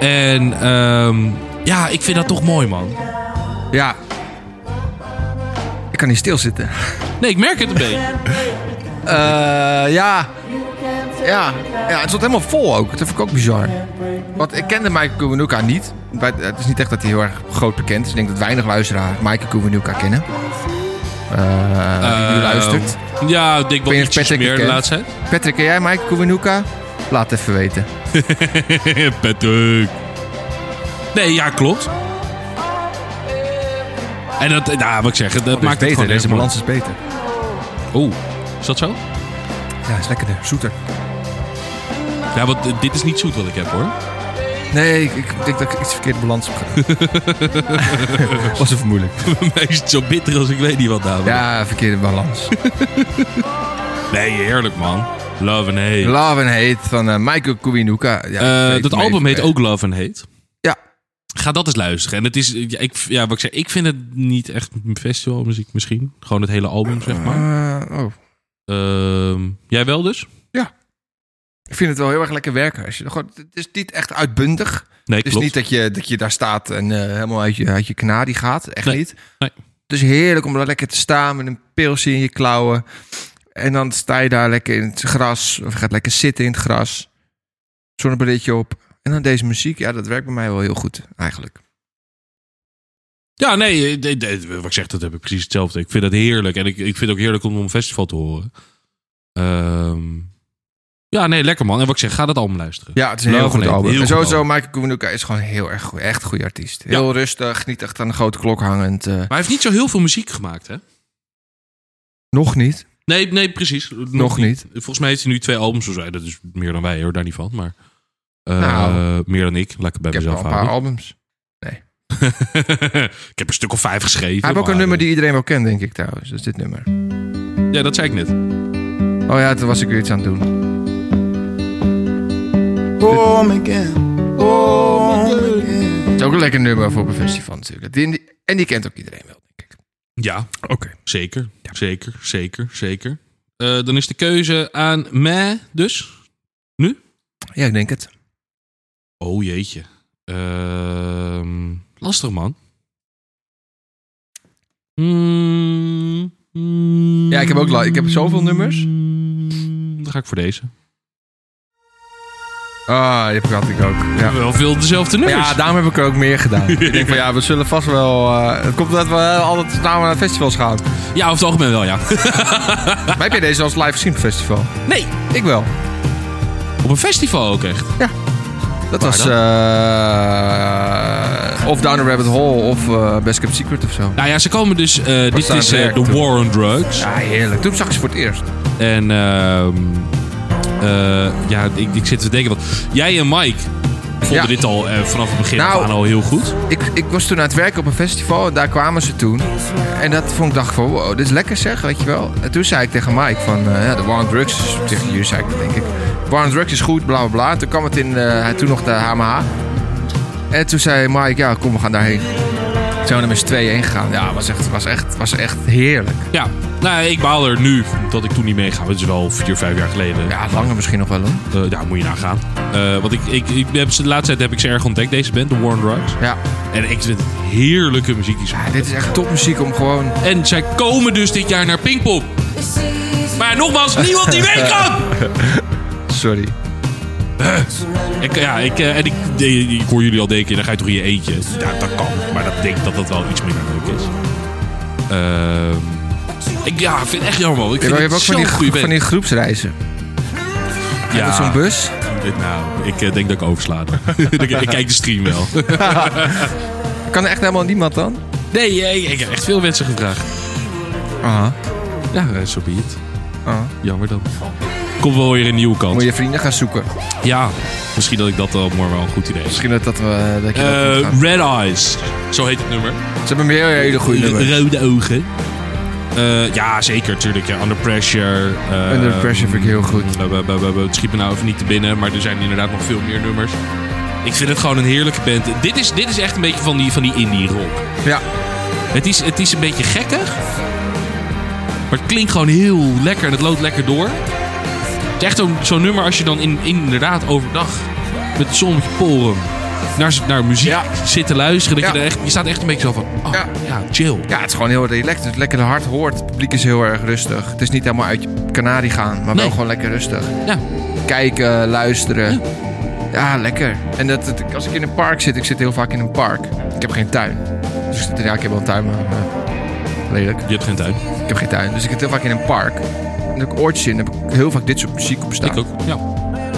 En ehm, ja, ik vind dat toch mooi, man.
Ja. Ik kan niet stilzitten.
Nee, ik merk het een beetje.
Eh ja. Ja. ja, het stond helemaal vol ook. Dat vind ik ook bizar. Want ik kende Michael Kuwanuka niet. Bij- Het is niet echt dat hij heel erg groot bekend is. Ik denk dat weinig luisteraars Michael Kuwanuka kennen. Eh die nu
Eh,
luistert.
Ja, ik denk wel
weet niet
iets
of Patrick
meer
het
de
kent.
laatste
Patrick, ken jij Michael Kuwanuka? Laat het even weten.
tijd. Patrick. Nee, ja, klopt. En dat, nou, wat ik zeg, dat maakt het gewoon
Dus Deze
helemaal-
balans is beter.
Oeh, is dat zo?
Ja, is lekkerder, zoeter.
Ja, want eh, dit is niet zoet wat ik heb, hoor.
Nee, ik, ik denk dat ik iets verkeerd balans heb gedaan. Was even moeilijk.
Bij mij is het zo bitter als ik weet niet wat, dames.
Ja, verkeerde balans.
Nee, heerlijk man. Love and Hate.
Love and Hate van eh, Michael Kuinuka. Ja,
Eh,
weet
dat
hem
album
even,
heet
eh,
ook Love and Hate.
Ja.
Ga dat eens luisteren. En het is, ja, ik, ja, wat ik zei, ik vind het niet echt festivalmuziek misschien. Gewoon het hele album, zeg maar.
Eh, oh.
Ehm, jij wel dus?
Ik vind het wel heel erg lekker werken. Als je, gewoon, het is niet echt uitbundig.
Nee,
Het is
klopt.
niet dat je, dat je daar staat en eh, helemaal uit je, uit je kanarie gaat. Echt
Nee,
niet.
nee.
Het is heerlijk om daar lekker te staan met een pilsje in je klauwen. En dan sta je daar lekker in het gras. Of je gaat lekker zitten in het gras. Zonnebrilletje op. En dan deze muziek. Ja, dat werkt bij mij wel heel goed eigenlijk.
Ja, nee, eh, de- de- wat ik zeg, dat heb ik precies hetzelfde. Ik vind dat heerlijk. En ik, ik vind het ook heerlijk om op een festival te horen. Ehm, ja, nee, lekker man. En wat ik zeg, ga dat allemaal luisteren.
Ja, het is een
Love
heel goed
and Hate,
album.
heel
en
goed
sowieso,
album.
Michael Kuwanuka is gewoon heel erg goed. Echt een goede artiest. Heel rustig, niet echt aan de grote klok hangend. eh,
Maar hij heeft niet zo heel veel muziek gemaakt, hè?
nog niet.
Nee, nee precies. Nog,
Nog
Volgens mij heeft hij nu twee albums of zo. Dat is meer dan wij hoor, daar niet van. Maar eh,
Nou.
meer dan ik. Laat ik het bij
Ik heb al
mezelf
een paar
houden.
albums.
ik heb een stuk of vijf geschreven.
Hij heeft ook een
maar,
nummer die iedereen wel kent, denk ik trouwens. Dat is dit nummer.
eh, Ja, dat zei ik net.
Oh ja, toen was ik weer iets aan het doen.
Home again. Home again.
Het is ook een lekker nummer voor op een festival natuurlijk. Die- die- en die kent ook iedereen wel, denk ik.
Ja,
Oké.
zeker. Zeker, zeker, zeker. Eh, dan is de keuze aan mij dus.
Ja, ik denk het.
Oh jeetje. Ehm, lastig man. Mm, mm.
Ja, ik heb ook la- ik heb zoveel nummers.
Dan ga ik voor deze.
Ah, die had ik ook. Ja.
Wel veel dezelfde
Maar
nummers.
ja, daarom heb ik er ook meer gedaan. ik denk van ja, we zullen vast wel... eh, het komt dat we altijd samen naar festivals gaan.
Ja, over het algemeen wel, ja.
maar heb je deze als live gezien op een festival?
Nee,
Ik wel.
op een festival ook echt.
Dat was...
dan?
eh, of Down the Rabbit Hole of eh, Best Kept Secret of zo.
Nou ja, ze komen dus... eh, dit
staan
is
ze
eh,
werk,
The
toch?
War on Drugs.
Ja, heerlijk. Toen zag ik ze voor het eerst.
En ehm, eh, ja, ik, ik zit te denken, want jij en Mike vonden
Ja.
dit al eh, vanaf het begin
Nou.
af aan al heel goed.
Ik, ik was toen aan het werken op een festival en daar kwamen ze toen. En dat vond ik, dacht van, wow, dit is lekker zeg, weet je wel. En toen zei ik tegen Mike van, eh, ja, de War on Drugs, is- tegen jullie zei ik dat, denk ik. War on Drugs is goed, bla bla bla. En Toen kwam het in, eh, toen nog de HMH. En toen zei Mike, ja, kom, we gaan daarheen. Toen zijn we er met z'n tweeën heen gegaan. Ja, was echt, was echt, was echt heerlijk.
Ja, nou, ik baal er nu dat ik toen niet meega. Het is wel vier, vijf jaar geleden.
Ja, langer misschien nog wel, hoor.
Eh, daar moet je naar gaan. Eh, want ik, ik, ik heb ze, de laatste tijd heb ik ze erg ontdekt, deze band, The War on Drugs.
Ja,
En ik vind het heerlijke muziek die ze maken.
dit is echt topmuziek om gewoon...
En zij komen dus dit jaar naar Pinkpop. Maar ja, nogmaals, niemand die weet dat!
Sorry.
Ik, ja, ik, eh, en ik, eh, ik hoor jullie al denken, dan ga je toch in je eentje. Ja, dat kan. Maar dat denk ik dat dat wel iets minder leuk is. Ehm, ik ja, ik vind het echt jammer. man. Ik
Je
vind
hebt
het
ook van
zo'n
die,
goede band.
van die groepsreizen.
ja,
Met zo'n bus.
dit- Nou, ik eh, denk dat ik oversla. dan. ik, ik kijk de stream wel.
Kan er echt helemaal niemand dan?
nee, eh, ik heb echt veel mensen gevraagd.
Aha.
Ja, eh, zo be it.
Ah.
Jammer dan. Komt wel weer een nieuwe kant.
Moet je vrienden gaan zoeken.
Ja, misschien dat ik dat al morgen wel een goed idee is.
Misschien dat, dat we. Dat je dat moet
Eh,
gaan.
Red Eyes. Zo heet het nummer.
Ze hebben meer hele goede nummers.
Rode ogen. Eh, ja, zeker, tuurlijk. Ja. Under Pressure. eh,
Under Pressure vind ik heel goed.
eh, eh, eh, eh, Het schiet me nou even niet te binnen, maar er zijn inderdaad nog veel meer nummers. Ik vind het gewoon een heerlijke band. Dit is, dit is echt een beetje van die, van die indie rock.
Ja.
Het is, het is een beetje gekkig. Maar het klinkt gewoon heel lekker en het loopt lekker door. Het is echt zo'n zo'n nummer als je dan in, inderdaad overdag met het zonnetje poren naar, z- naar muziek
Ja.
zit te luisteren. Dat je,
Ja.
er echt, je staat echt een beetje zo van, oh,
Ja.
ja. chill.
ja, het is gewoon heel relaxed. Het is lekker hard hoort. Het publiek is heel erg rustig. Het is niet helemaal uit je kanarie gaan, maar wel
Nee.
gewoon lekker rustig.
Ja.
Kijken, luisteren. Ja, lekker. En dat, dat- als ik in een park zit, ik zit heel vaak in een park. Ik heb geen tuin. Dus ik zit- ja, ik heb wel een tuin, maar. eh, lelijk.
Je hebt geen tuin.
Ik heb geen tuin. Dus ik zit heel vaak in een park. En dan heb ik oortjes in. Dan heb ik heel vaak dit soort muziek op staan.
Ik ook. Ja.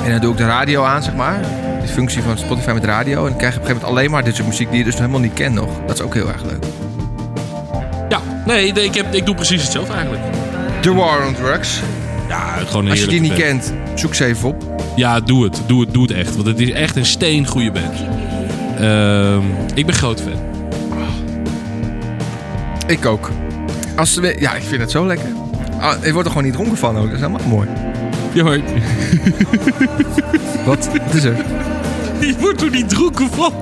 En dan doe ik de radio aan, zeg maar. Die functie van Spotify met radio. En dan krijg je op een gegeven moment alleen maar dit soort muziek die je dus helemaal niet kent nog. Dat is ook heel erg leuk.
ja. Nee, nee, ik, heb, ik doe precies hetzelfde eigenlijk.
The War on Drugs.
Ja, gewoon een
Als je die
heerlijke
niet
band.
kent, zoek ze even op.
Ja, doe het. Doe het, doe het echt. Want het is echt een steengoede band. Ehm, ik ben groot fan.
Ik ook. Als ze, ja, ik vind het zo lekker. Ah, je wordt er gewoon niet dronken van ook. Dat is helemaal mooi.
Je wordt,
Wat? Wat is er?
je wordt er niet dronken van.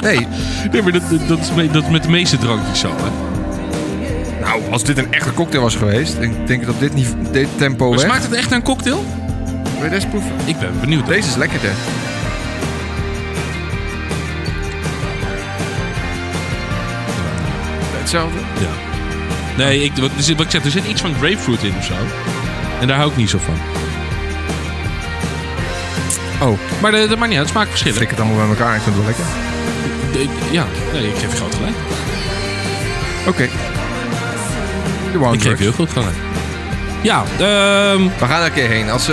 Nee.
Nee, maar dat, dat, is, me- dat is met de meeste drankjes zo, hè.
Nou, als dit een echte cocktail was geweest. Ik denk dat dit, niet, dit tempo
Maar
weg...
smaakt het echt naar een cocktail?
Wil je deze proeven?
Ik ben benieuwd.
Deze is lekkerder. Hetzelfde.
Ja. Nee, ik, wat, er zit- wat ik zeg, er zit iets van grapefruit in of zo. En daar hou ik niet zo van.
Oh,
Maar eh, dat, dat maakt niet uit, het smaakt verschillend.
flik het allemaal bij elkaar. Ik vind het wel lekker.
Ik- ja, nee, ik geef je groot gelijk.
Oké. De one
Ik geef je heel goed gelijk. Ja, ehm,
We gaan er een keer heen. Als ze,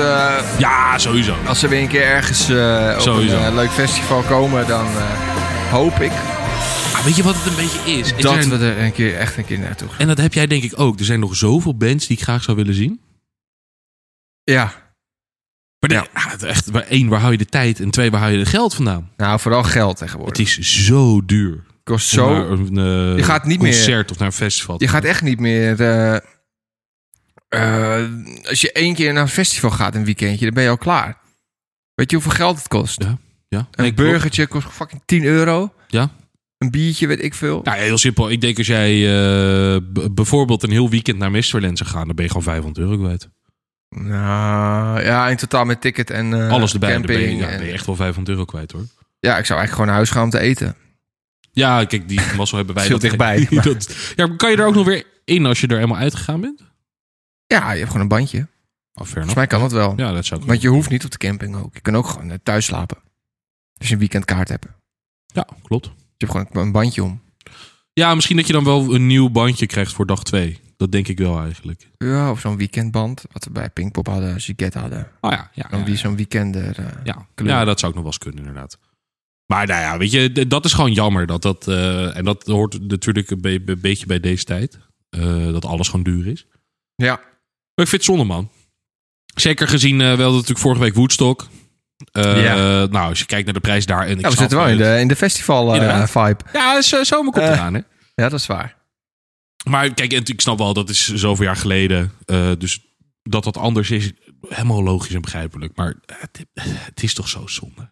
ja, sowieso.
als ze weer een keer ergens eh, op
Sowieso.
een eh, leuk festival komen, dan eh, hoop ik
Ah, weet je wat het een beetje is? Er
dat
zijn-
we er een keer, echt een keer naartoe gaan.
En dat heb jij denk ik ook. Er zijn nog zoveel bands die ik graag zou willen zien.
Ja.
Maar, de- ah, echt, maar één, waar hou je de tijd? En twee, waar hou je het geld vandaan?
Nou, vooral geld
Het
tegenwoordig.
is zo duur. Om
kost zo.
naar een, eh,
Je gaat niet meer-
concert of naar een festival.
Je gaat echt niet meer. eh, eh, als je één keer naar een festival gaat een weekendje, dan ben je al klaar. Weet je hoeveel geld het kost?
ja?
Een
Nee, klopt.
burgertje kost fucking 10 euro.
Ja.
Een biertje, weet ik veel.
Nou, heel simpel. Ik denk als jij eh, b- bijvoorbeeld een heel weekend naar Misterland zou gaan, dan ben je gewoon 500 euro kwijt.
Nou, ja, in totaal met ticket en eh,
Alles erbij, dan ben, je,
camping.
ja,
en-
ben je echt wel 500 euro kwijt hoor.
Ja, ik zou eigenlijk gewoon naar huis gaan om te eten.
Ja, kijk, die mazzel hebben wij.
Veel dichtbij, maar-
dat, ja, maar kan je er ook nog weer in als je er helemaal uitgegaan bent?
Ja, je hebt gewoon een bandje.
Of ver
Volgens mij kan dat wel.
Ja, dat zou ik
Oh, Want je hoeft niet op de camping ook. Je kan ook gewoon eh, thuis slapen. Als je een weekendkaart hebt. Dus
Ja, klopt.
Je hebt gewoon een bandje om.
Ja, misschien dat je dan wel een nieuw bandje krijgt voor dag 2. Dat denk ik wel eigenlijk.
Ja, of zo'n weekendband. Wat we bij Pinkpop hadden, Ziget hadden.
Oh ja, ja.
Dan
ja,
die zo'n weekender. eh,
ja.
kleur.
Ja, dat zou ik nog wel eens kunnen inderdaad. Maar nou ja, weet je, d- dat is gewoon jammer. Dat dat, eh, en dat hoort natuurlijk een be- be- beetje bij deze tijd. eh, dat alles gewoon duur is.
Ja.
Maar ik vind het zonde, man. Zeker gezien, eh, wel natuurlijk vorige week Woodstock. Eh,
Ja.
Nou, als je kijkt naar de prijs daar. En ik
Ja, we
snap
zitten wel in
het.
de, in de festival eh,
Inderdaad.
vibe.
Ja, zo, zomer komt
Eh.
eraan, hè.
Ja, dat is waar.
Maar kijk, en ik snap wel, dat is zoveel jaar geleden. eh, dus dat dat anders is, helemaal logisch en begrijpelijk. Maar het, het is toch zo zonde.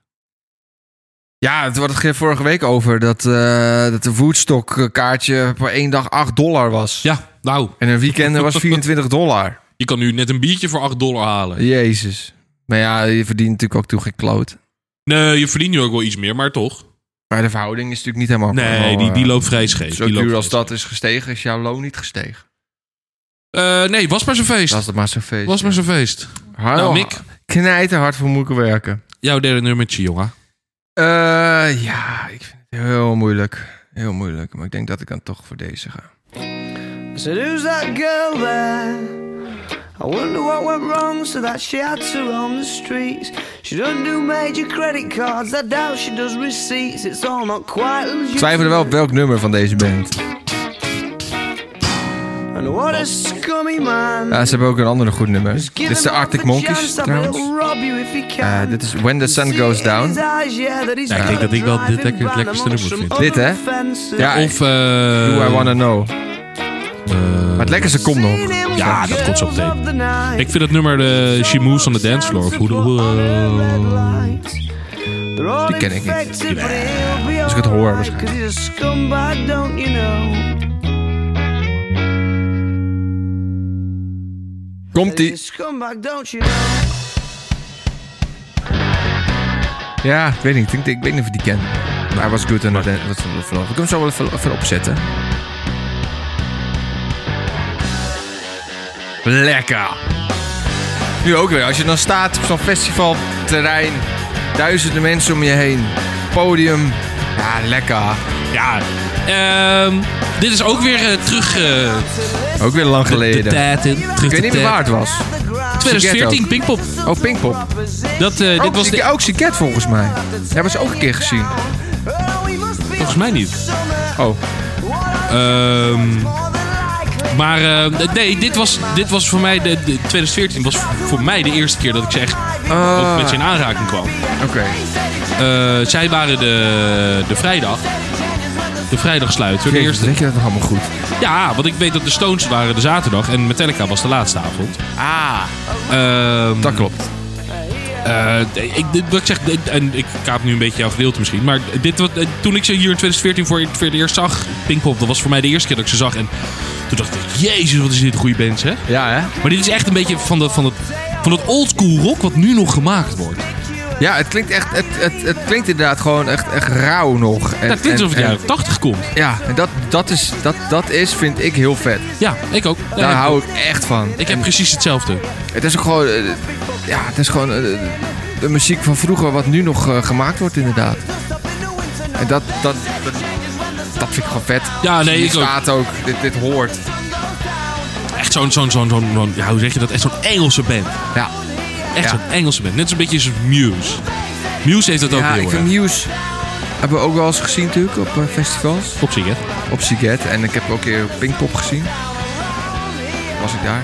Ja, het had het vorige week over dat, eh, dat de Woodstock kaartje voor één dag 8 dollar was.
Ja, nou,
En een weekend was 24 dollar.
je kan nu net een biertje voor 8 dollar halen.
Jezus. Maar ja, je verdient natuurlijk ook toe geen kloot.
Nee, je verdient nu ook wel iets meer, maar toch.
Maar de verhouding is natuurlijk niet helemaal...
Nee,
helemaal,
die, die
eh,
loopt vrij scheef.
Zo
Die loopt
duur als
vrij
dat is gestegen, is jouw loon niet gestegen.
scheef. Eh, nee, was maar zo'n feest.
Was dat maar zo'n feest.
Was maar zo'n feest.
Hallo,
Nou, Mick.
Knijten hard voor moeilijke werken.
Jouw derde nummertje, jongen.
Eh, ja, ik vind het heel moeilijk. Heel moeilijk. Maar ik denk dat ik dan toch voor deze ga.
said, Who's that girl there? I wonder what went wrong so that she had to roam the streets. She doesn't do major credit cards, I doubt she does receipts. It's all not quite
Ik
legit.
twijfel er wel op welk nummer van deze band.
And what a scummy man.
Ja, ze hebben ook een ander goed nummer.
Just give
Dit is de
him half
Arctic
a
Monkeys
chance, I bet
trouwens.
it'll rob you if he can.
Eh, dit is When the Sun Goes Down.
Ja,
ik denk dat ik wel dit lekker- het lekkerste nummer vind.
Dit, hè? Ja,
Of... eh,
Do I Wanna Know.
eh,
Maar het lekkerste komt nog.
Ja, dat komt zo meteen. Ik vind het nummer eh, She Moves on the Dance Floor. Of hoe, hoe, eh,
Die
ken ik niet.
niet.
als ik het hoor waarschijnlijk. Komt die. Ja, ik weet niet. Ik, denk- ik weet niet of ik die ken. Maar hij was goed en dat was wel verloren. Ik kan hem zo wel even, even opzetten. Lekker. Nu ook weer. Als je dan staat op zo'n festivalterrein. Duizenden mensen om je heen. Podium. Ja, lekker.
Ja, ehm, dit is ook weer eh, terug eh,
Ook weer lang
de
geleden.
tijd in. Terug
Ik weet niet
de
meer waar
tijd.
het was.
2014,
Ook.
Pinkpop.
Oh, Pinkpop.
Dat, eh, dit
Ook,
was
was
de...
ook Siket volgens mij. Hebben ze ook een keer gezien.
Volgens mij niet.
Oh,
Ehm, maar eh, nee, dit was, dit was voor mij... De, de- 2014 was voor mij de eerste keer dat ik ze echt
Ah.
ook met ze in aanraking kwam.
oké.
Eh, zij waren de, de vrijdag. De vrijdagsluiter. De eerste.
Zeg je dat nog allemaal goed?
Ja, want ik weet dat de Stones waren de zaterdag en Metallica was de laatste avond.
Ah,
Ehm,
dat klopt.
eh, ik, dit, wat ik zeg, dit- en ik kaap nu een beetje jouw gedeelte misschien. Maar dit, wat, eh, toen ik ze hier in 2014 voor, voor het eerst zag, Pinkpop, dat was voor mij de eerste keer dat ik ze zag. En toen dacht ik, jezus, wat is dit een goede band, hè?
Ja, hè?
Maar dit is echt een beetje van dat, van dat, van dat oldschool rock wat nu nog gemaakt wordt.
Ja, het klinkt echt. Het, het, het klinkt inderdaad gewoon echt, echt rauw nog. En,
Dat klinkt
en-
alsof het
en-
jaren 80 komt.
Ja, en dat, dat, is, dat, dat is, vind ik, heel vet.
Ja, ik ook. Ja,
Daar
ik
Nou, hou ik echt van.
Ik heb precies hetzelfde.
Het is ook gewoon. eh, ja, het is gewoon. eh, de muziek van vroeger, wat nu nog eh, gemaakt wordt, inderdaad. En dat, dat, dat, dat vind ik gewoon vet.
Ja, nee,
Hier
ik ook.
staat ook. Dit, dit hoort.
Echt zo'n, zo'n, zo'n, zo'n, zo'n- ja, hoe zeg je dat? Echt zo'n Engelse band.
Ja,
Echt
Ja.
zo'n Engelse band. Net zo'n beetje als Muse. Muse heeft dat ook
ja
heel
ik
erg.
vind Muse. Hebben we ook wel eens gezien, natuurlijk, op eh, festivals.
Op zich, hè?
Op Siget. En ik heb ook een keer Pinkpop gezien. Was ik daar?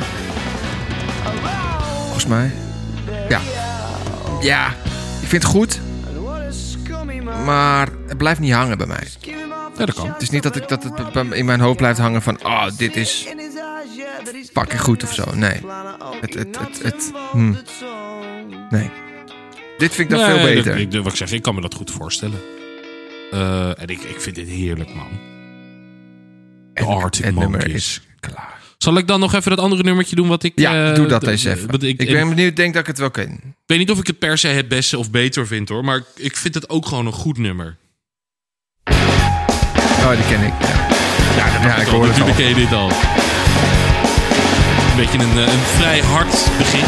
Volgens mij. Ja. Ja. Ik vind het goed, maar het blijft niet hangen bij mij.
Ja, dat kan.
Het is niet dat, ik, dat het bij- in mijn hoofd blijft hangen van... Oh, dit is pakken goed of zo. Nee. Het, het, het, het. hm. Nee. Dit vind ik dan
Nee,
veel beter.
dat- ik, wat ik zeg, ik kan me dat goed voorstellen. Eh, en ik, ik vind dit heerlijk, man.
En
Arctic
het nummer
Monkeys.
is klaar.
Zal ik dan nog even dat andere nummertje doen wat ik...
Ja,
eh,
doe dat
d-
eens
d-
even.
want
ik,
Ik,
ben benieuwd, ik denk dat ik het wel ken.
ik weet niet of ik het per se het beste of beter vind, hoor. Maar ik vind het ook gewoon een goed nummer.
Oh, die ken ik. Ja, ja, ik hoor het al.
Natuurlijk ken je dit al. Een beetje een, eh, een vrij hard begin.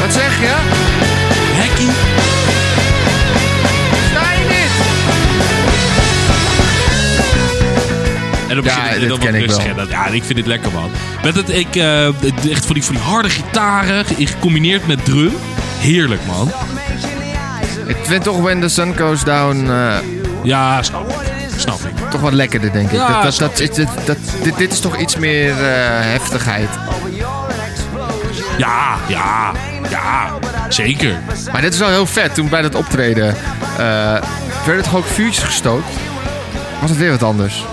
Wat zeg je?
Hacking.
Sta je dit?
En dan
Ja,
begint het
dit
dan wat
ken ik
rustiger.
wel.
Dat- Ja, ik vind dit lekker, man. Met het, ik, eh, het- echt van die, van die harde gitaren, ge- gecombineerd met drum. Heerlijk, man.
Ik vind toch When the Sun Goes Down eh,
Ja, snap ik. Snap ik.
toch wat lekkerder, denk ik.
Ja,
dat, dat, dat, is- dat- dat- dit, dit is toch iets meer eh, heftigheid.
Ja, ja, ja. Zeker.
Maar dit is wel heel vet. Toen bij dat optreden eh werden toch ook vuurtjes gestookt. Was het weer wat anders?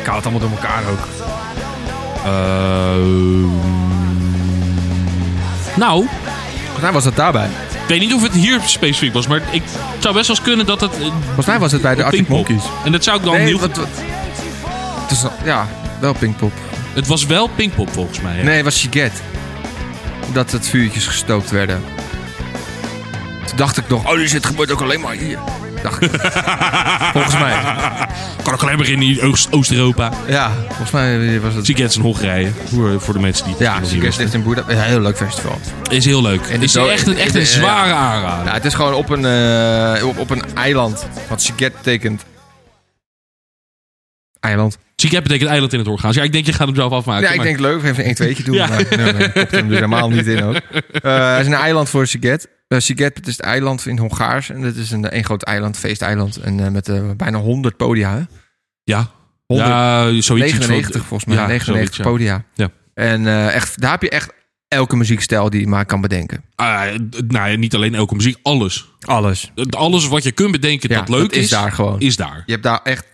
Ik hou het allemaal door elkaar ook. Ehm, nou,
Volgens mij was dat daarbij.
ik weet niet of het hier specifiek was, maar ik het zou best wel eens kunnen dat het... eh,
Volgens mij was het bij de Arctic Monkeys.
En dat zou ik dan
Nee,
heel...
wat, wat, het is, ja, wel Pinkpop.
Het was wel Pinkpop volgens mij. hè?
Nee, het was Siget. Dat het vuurtjes gestookt werden. Toen dacht ik nog, oh, dus dit gebeurt ook alleen maar hier. Dacht ik. Volgens mij.
Kan ook alleen maar in die Oost- Oost-Europa.
Ja, volgens mij was het...
Siget's in Hongarije, voor, voor de mensen die
Ja,
die
Seagate ligt in Boedapest. Ja, heel leuk festival.
Is heel leuk.
En
is
de do-
echt een, echt een
de-
zware aanrader.
Ja, het is gewoon op een, eh, op, op een eiland. Wat Seagate betekent... Eiland.
Siget betekent eiland in het orgaan. Ja, ik denk je gaat hem zelf afmaken.
ja, ik
maar-
denk leuk. Even een tweetje doen.
Ja.
Maar nee, nee, ik kopte hem er dus helemaal niet in ook. Eh, het is een eiland voor Seagate. Eh Seagate, het is het eiland in Hongaars. En het is een, een groot eiland, feesteiland. En eh, met eh, bijna 100 podia. hè?
Ja.
100
ja, zoiets. iets
99
van-
volgens mij.
Ja,
99
zoiets,
podia.
Ja.
En eh, echt, daar heb je echt elke muziekstijl die je maar kan bedenken.
ja. Ah, d- nou ja, niet alleen elke muziek, alles.
Alles.
D- Alles wat je kunt bedenken
Ja,
dat leuk
dat is daar gewoon.
is daar.
Je hebt daar echt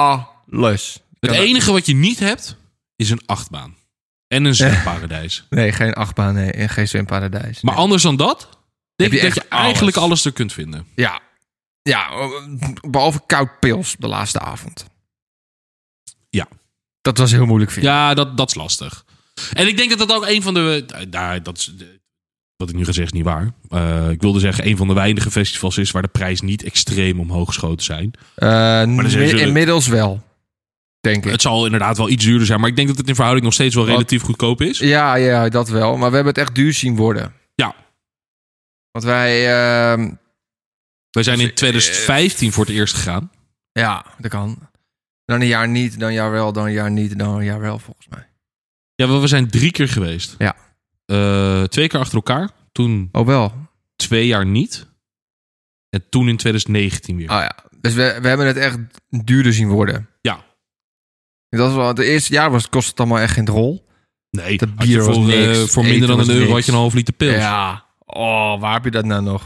alles.
Het enige wat je niet hebt, is een achtbaan. En een zwemparadijs.
Nee, geen achtbaan, nee. En geen zwemparadijs.
Maar anders dan dat, denk
je
ik dat
echt
je eigenlijk
alles.
alles er kunt vinden.
Ja. Ja, behalve koud pils de laatste avond.
Ja.
Dat was heel moeilijk voor
Ja, dat, dat is lastig. En ik denk dat dat ook een van de. eh, Nou, dat is, eh, wat ik nu ga zeggen is niet waar. Eh, ik wilde zeggen, een van de weinige festivals is waar de prijs niet extreem omhoog geschoten zijn.
maar
dan zijn ze-
Eh, inmiddels wel, denk ik.
Het zal inderdaad wel iets duurder zijn, maar ik denk dat het in verhouding nog steeds wel relatief goedkoop is.
Ja, ja, dat wel. Maar we hebben het echt duur zien worden.
Ja.
Want wij... ehm,
Wij zijn
Dus,
in
eh,
2015 voor het eerst gegaan.
ja, dat kan. Dan een jaar niet, dan een jaar wel, dan een jaar niet, dan een jaar wel, volgens mij.
Ja, we we zijn drie keer geweest.
Ja.
Eh, twee keer achter elkaar. Toen
Oh, wel.
twee jaar niet. En toen in 2019 weer.
Oh ja. Dus we, we hebben het echt duurder zien worden.
Ja.
Dat was wel... Het eerste jaar was, kost het allemaal echt geen rol.
nee,
dat
had je
bier was
voor, eh,
niks,
voor minder
eten
dan
was
een euro
niks.
had je een half liter pils.
Ja. Oh, waar heb je dat nou nog?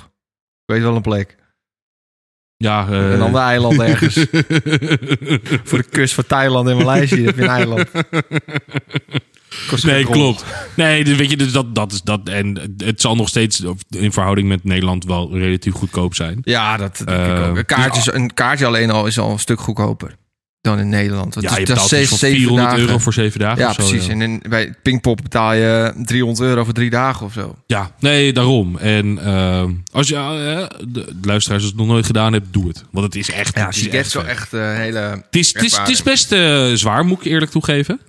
Ik weet wel een plek.
Ja, eh,
En dan de eilanden ergens. Voor de kust van Thailand en Maleisië heb je een eiland. Kost
Nee,
geen rol.
klopt. Nee, dus weet je, dus dat, dat is dat. En het zal nog steeds of in verhouding met Nederland wel relatief goedkoop zijn.
Ja, dat denk ik
Eh,
ook. Een kaartje, is- een kaartje alleen al is al een stuk goedkoper dan in Nederland. Want
Ja,
het
je
is- dat
betaalt
is
dus
zes-
voor
zeven
400
dagen.
euro voor zeven dagen.
Ja,
of zo,
precies.
ja.
En in, bij Pinkpop betaal je 300 euro voor drie dagen of zo.
Ja, nee, daarom. En ehm, als je, eh, de luisteraars als het nog nooit gedaan hebt, doe het. Want het is echt...
Ja,
het
je
is
is wel
vet.
echt eh, hele...
Het is, het is, het is best eh, zwaar, moet ik eerlijk toegeven.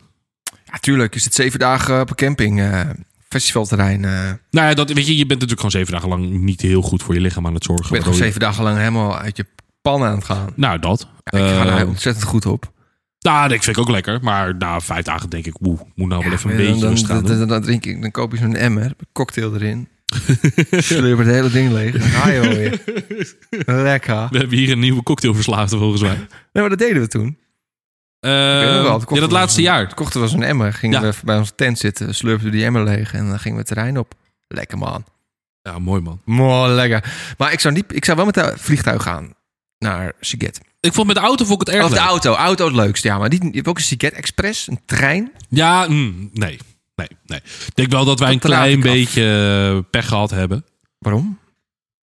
Ja, tuurlijk. Is het zeven dagen op een camping, eh, festivalterrein. eh.
Nou ja, dat, weet je, je bent natuurlijk gewoon zeven dagen lang niet heel goed voor je lichaam aan het zorgen.
ik ben gewoon
waardoor je-
zeven dagen lang helemaal uit je pan aan het gaan.
Nou, dat.
Ja, ik ga
Ehm,
daar ontzettend goed op.
nou, dat vind ik ook lekker. Maar na vijf dagen denk ik, oeh, moet nou wel even een
Ja,
beetje
dan,
rustig aan
dan,
doen.
dan, dan drink ik, dan koop je zo'n emmer, cocktail erin. Slurp het hele ding leeg. Dan ga je wel weer. Lekker.
We hebben hier een nieuwe cocktailverslaafde volgens mij.
Nee, maar dat deden we toen.
Eh,
Ik weet nog wel, toen
ja,
kochten
dat
we
laatste
zo'n-
jaar.
toen kochten we zo'n emmer. Gingen
Ja.
we bij onze tent zitten, slurpten we die emmer leeg en dan gingen we het terrein op. Lekker man.
Ja, mooi man.
Mooi, lekker. Maar ik zou, niet, ik zou wel met de vliegtuig gaan naar Siget.
Ik vond met de auto vond ik het erg
Of de
leuk.
auto. Auto het leukste, ja. Maar niet, je hebt ook een Siget Express, een trein.
Ja, mm, nee. Nee, nee. Ik denk wel dat wij
Dat
een
laat ik
klein
af.
beetje eh, pech gehad hebben.
Waarom?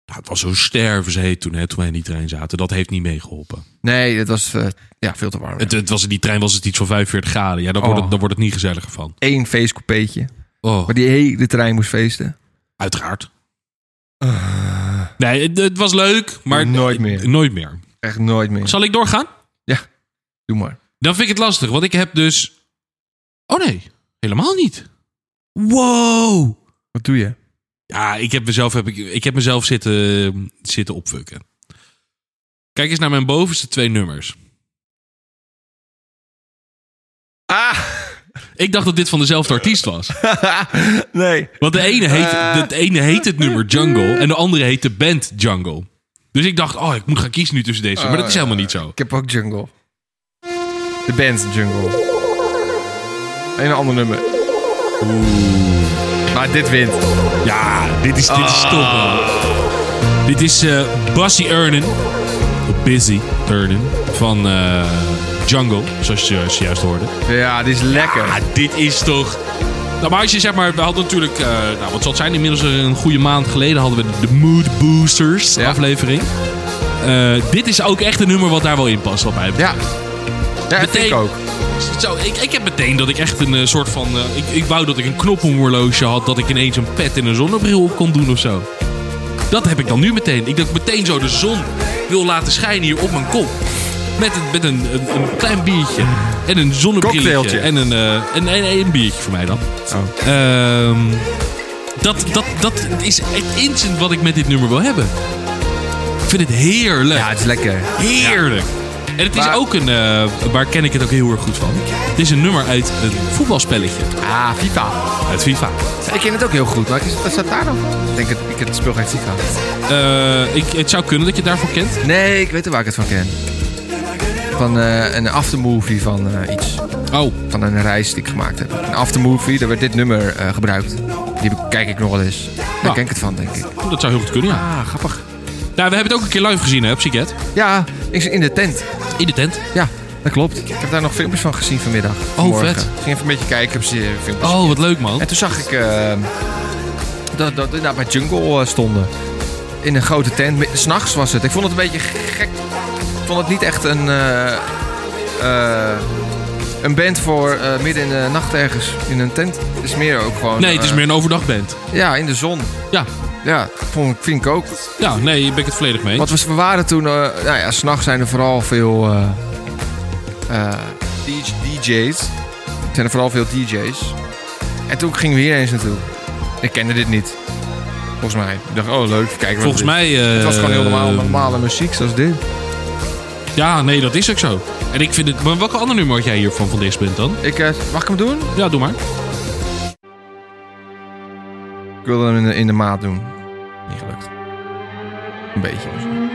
Nou, het was zo stervensheet toen, hè, toen wij in die trein zaten. Dat heeft niet meegeholpen.
Nee, het was eh, ja, veel te warm.
Het, het was, in die trein was het iets van 45 graden. Ja, daar, wordt het,
Oh.
daar wordt het niet gezelliger van.
Eén feestcoupeetje.
Oh,
Maar die hele trein moest feesten.
uiteraard. Nee, het, het was leuk, maar...
Eh. Nooit meer.
Nooit meer.
Echt nooit meer.
Zal ik doorgaan?
Doe maar.
Dan vind ik het lastig, want ik heb dus... Oh nee, helemaal niet. Wow!
Wat doe je?
Ja, ik heb mezelf, heb ik, ik heb mezelf zitten, zitten opfukken. Kijk eens naar mijn bovenste twee nummers.
Ah!
Ik dacht dat dit van dezelfde artiest was.
nee.
Want de ene heet,
Eh.
de ene heet het nummer Jungle en de andere heet de band Jungle. Dus ik dacht, oh, ik moet gaan kiezen nu tussen deze. Maar dat
Oh,
is helemaal niet zo.
Ik heb ook Jungle. De band Jungle. En een ander nummer. Maar dit wint.
Ja, dit is, dit is
Oh.
top. man. Dit is eh Bassie Ernen. Busy Ernen. Van eh, Jungle, zoals je juist hoorde.
Ja, dit is lekker.
Ah, dit is toch. Nou, maar als je zeg maar, we hadden natuurlijk, eh, nou, wat zal het zijn, inmiddels een goede maand geleden hadden we de Mood Boosters
Ja.
aflevering. Eh, dit is ook echt een nummer wat daar wel in past, wat mij betreft.
Ja. Ja, dat vind ik
Meteen-
ook.
Zo, ik, ik heb meteen dat ik echt een eh, soort van, eh, ik, ik wou dat ik een knop om mijn horloge had, dat ik ineens een pet en een zonnebril op kon doen of zo. Dat heb ik dan nu meteen. Ik dat ik meteen zo de zon wil laten schijnen hier op mijn kop. Met een, met een, een, een klein biertje. En een zonnebrilletje.
Cocktailtje.
En een, eh, en, en, en een biertje voor mij dan.
Oh.
Ehm, dat, dat, dat is het instant wat ik met dit nummer wil hebben. Ik vind het heerlijk.
Ja, het is lekker.
heerlijk. En het is
Maar-
ook een, eh, waar ken ik het ook heel erg goed van. Het is een nummer uit een voetbalspelletje.
Ah, FIFA.
Uit FIFA.
Ik ken het ook heel goed, maar is- wat staat daar nog? Ik denk dat ik het speel geen FIFA.
Eh, ik, het zou kunnen dat je het daarvoor kent.
Nee, ik weet wel waar ik het van ken. Van eh, een aftermovie van eh, iets.
Oh,
Van een reis die ik gemaakt heb. Een aftermovie, daar werd dit nummer eh, gebruikt. Die bekijk ik nog wel eens. Daar
Nou.
ken ik het van, denk ik.
dat zou heel goed kunnen, ja.
Ah, grappig.
Nou, we hebben het ook een keer live gezien, hè, op Siget.
Ja, ik zit in de tent.
In de tent.
Ja, dat klopt. Ik heb daar nog filmpjes van gezien vanmiddag. vanmorgen.
vet.
Ik ging even een beetje kijken. Heb ze eh, filmpjes.
Oh, wat leuk, man.
En toen zag ik eh, dat, dat we daar bij Jungle eh, stonden. In een grote tent. S'nachts was het. Ik vond het een beetje gek. Ik vond het niet echt een, eh, eh, een band voor eh, midden in de nacht ergens in een tent. Het is meer ook gewoon...
Nee, het is
eh,
meer een overdagband.
Ja, in de zon.
Ja,
Ja, vond, ik- vind ik ook.
ja nee, daar ben ik het volledig mee.
Want
eens.
we, we waren toen, eh nou ja, s'nachts zijn er vooral veel eh, eh, DJ DJ's. Zijn er vooral veel DJ's. En toen gingen we hier eens naartoe. Ik kende dit niet. Volgens mij. Ik dacht, oh leuk, kijken we
Volgens
dit.
mij... eh,
Het was gewoon heel normaal, normale muziek zoals dit.
Ja, nee, dat is ook zo. En ik vind het... Maar welke andere nummer had jij hiervan van deze band dan?
Ik, eh, mag ik hem doen?
Ja, doe maar.
Ik wilde hem in de, in de maat doen. Niet gelukt. Een beetje. misschien.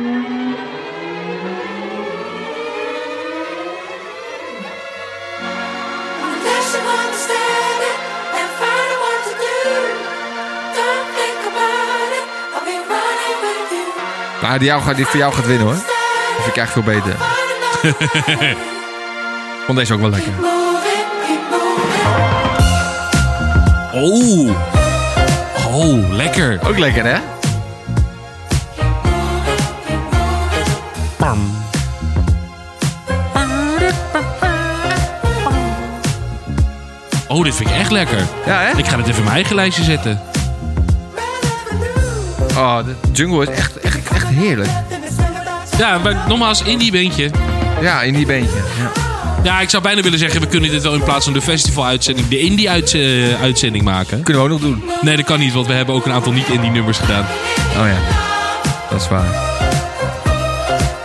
Unless you understand it and find out what to do, don't think about it. I'll be running with you.
Maar die, jou, gaat- die voor jou gaat winnen hoor. vind ik echt veel beter. Vond deze ook wel lekker.
Oh. Oh, lekker.
Ook lekker, hè?
Pam. Oh, dit vind ik echt lekker.
Ja, hè?
Ik ga dit even in mijn eigen lijstje zetten.
Oh, de jungle is echt, echt, echt heerlijk.
Ja, maar nogmaals, indie beentje.
Ja, in die beentje. Ja.
Ja, ik zou bijna willen zeggen, we kunnen dit wel in plaats van de festival-uitzending, de indie-uitzending maken.
Kunnen we ook nog doen.
Nee, dat kan niet, want we hebben ook een aantal niet-indie nummers gedaan.
Oh ja, dat is waar.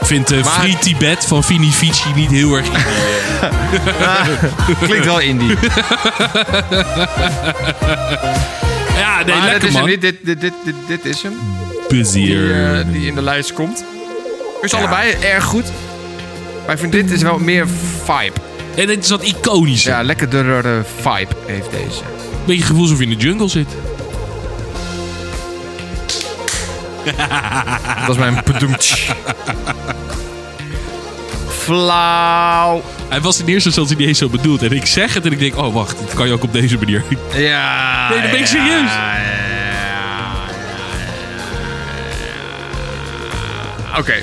Ik vind eh,
Maar-
Free Tibet van Vini Vici niet heel erg...
Klinkt wel indie.
Ja, nee,
Maar dat
lekker
is hem
man.
niet. Dit, dit, dit, dit, dit is hem. Die,
Busier.
eh, die in de lijst komt. Is allebei erg goed. Maar ik vind dit is wel meer vibe.
En dit is wat iconisch.
Ja, lekkerdere vibe heeft deze.
Beetje gevoel alsof je in de jungle zit.
Dat is mijn pedoemtsch. Flauw.
Hij was in eerste instantie niet eens zo bedoeld. En ik zeg het en ik denk, oh wacht, dat kan je ook op deze manier.
Ja.
Nee, dat ben ik serieus.
ja, ja, ja. Oké.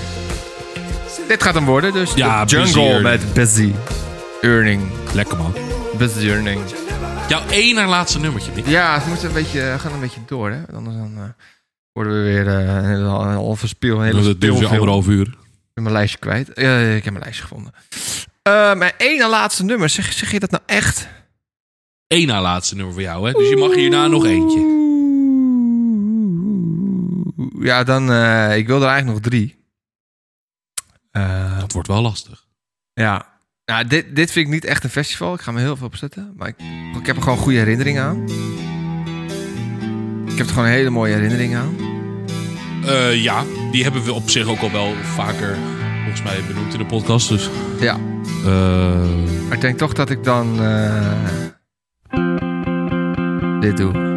Dit gaat hem worden, dus.
Ja,
de jungle
Busy
met busy. Earning.
Lekker man.
Busy earning.
Jouw één naar laatste nummertje, Mick.
Ja, het moet een beetje, we gaan een beetje door, hè? Want Anders dan eh, worden we weer eh, een hele- een halve speel, een hele
Dat duurt weer
speelfilm.
anderhalf uur.
Ik ben mijn lijstje kwijt. Eh, ik heb mijn lijstje gevonden. Eh, mijn één na laatste nummer. Zeg, zeg je dat nou echt?
Eén na laatste nummer voor jou, hè? Dus je mag hierna nog eentje.
Ja, dan... eh, ik wil er eigenlijk nog drie. Eh,
Dat wordt wel lastig.
ja. Nou, dit, dit vind ik niet echt een festival. Ik ga me heel veel opzetten. Maar ik, ik heb er gewoon goede herinneringen aan. Ik heb er gewoon een hele mooie herinneringen aan.
Eh, ja, die hebben we op zich ook al wel vaker, volgens mij, benoemd in de podcast. Dus,
Ja.
eh,
Maar ik denk toch dat ik dan... eh, dit doe.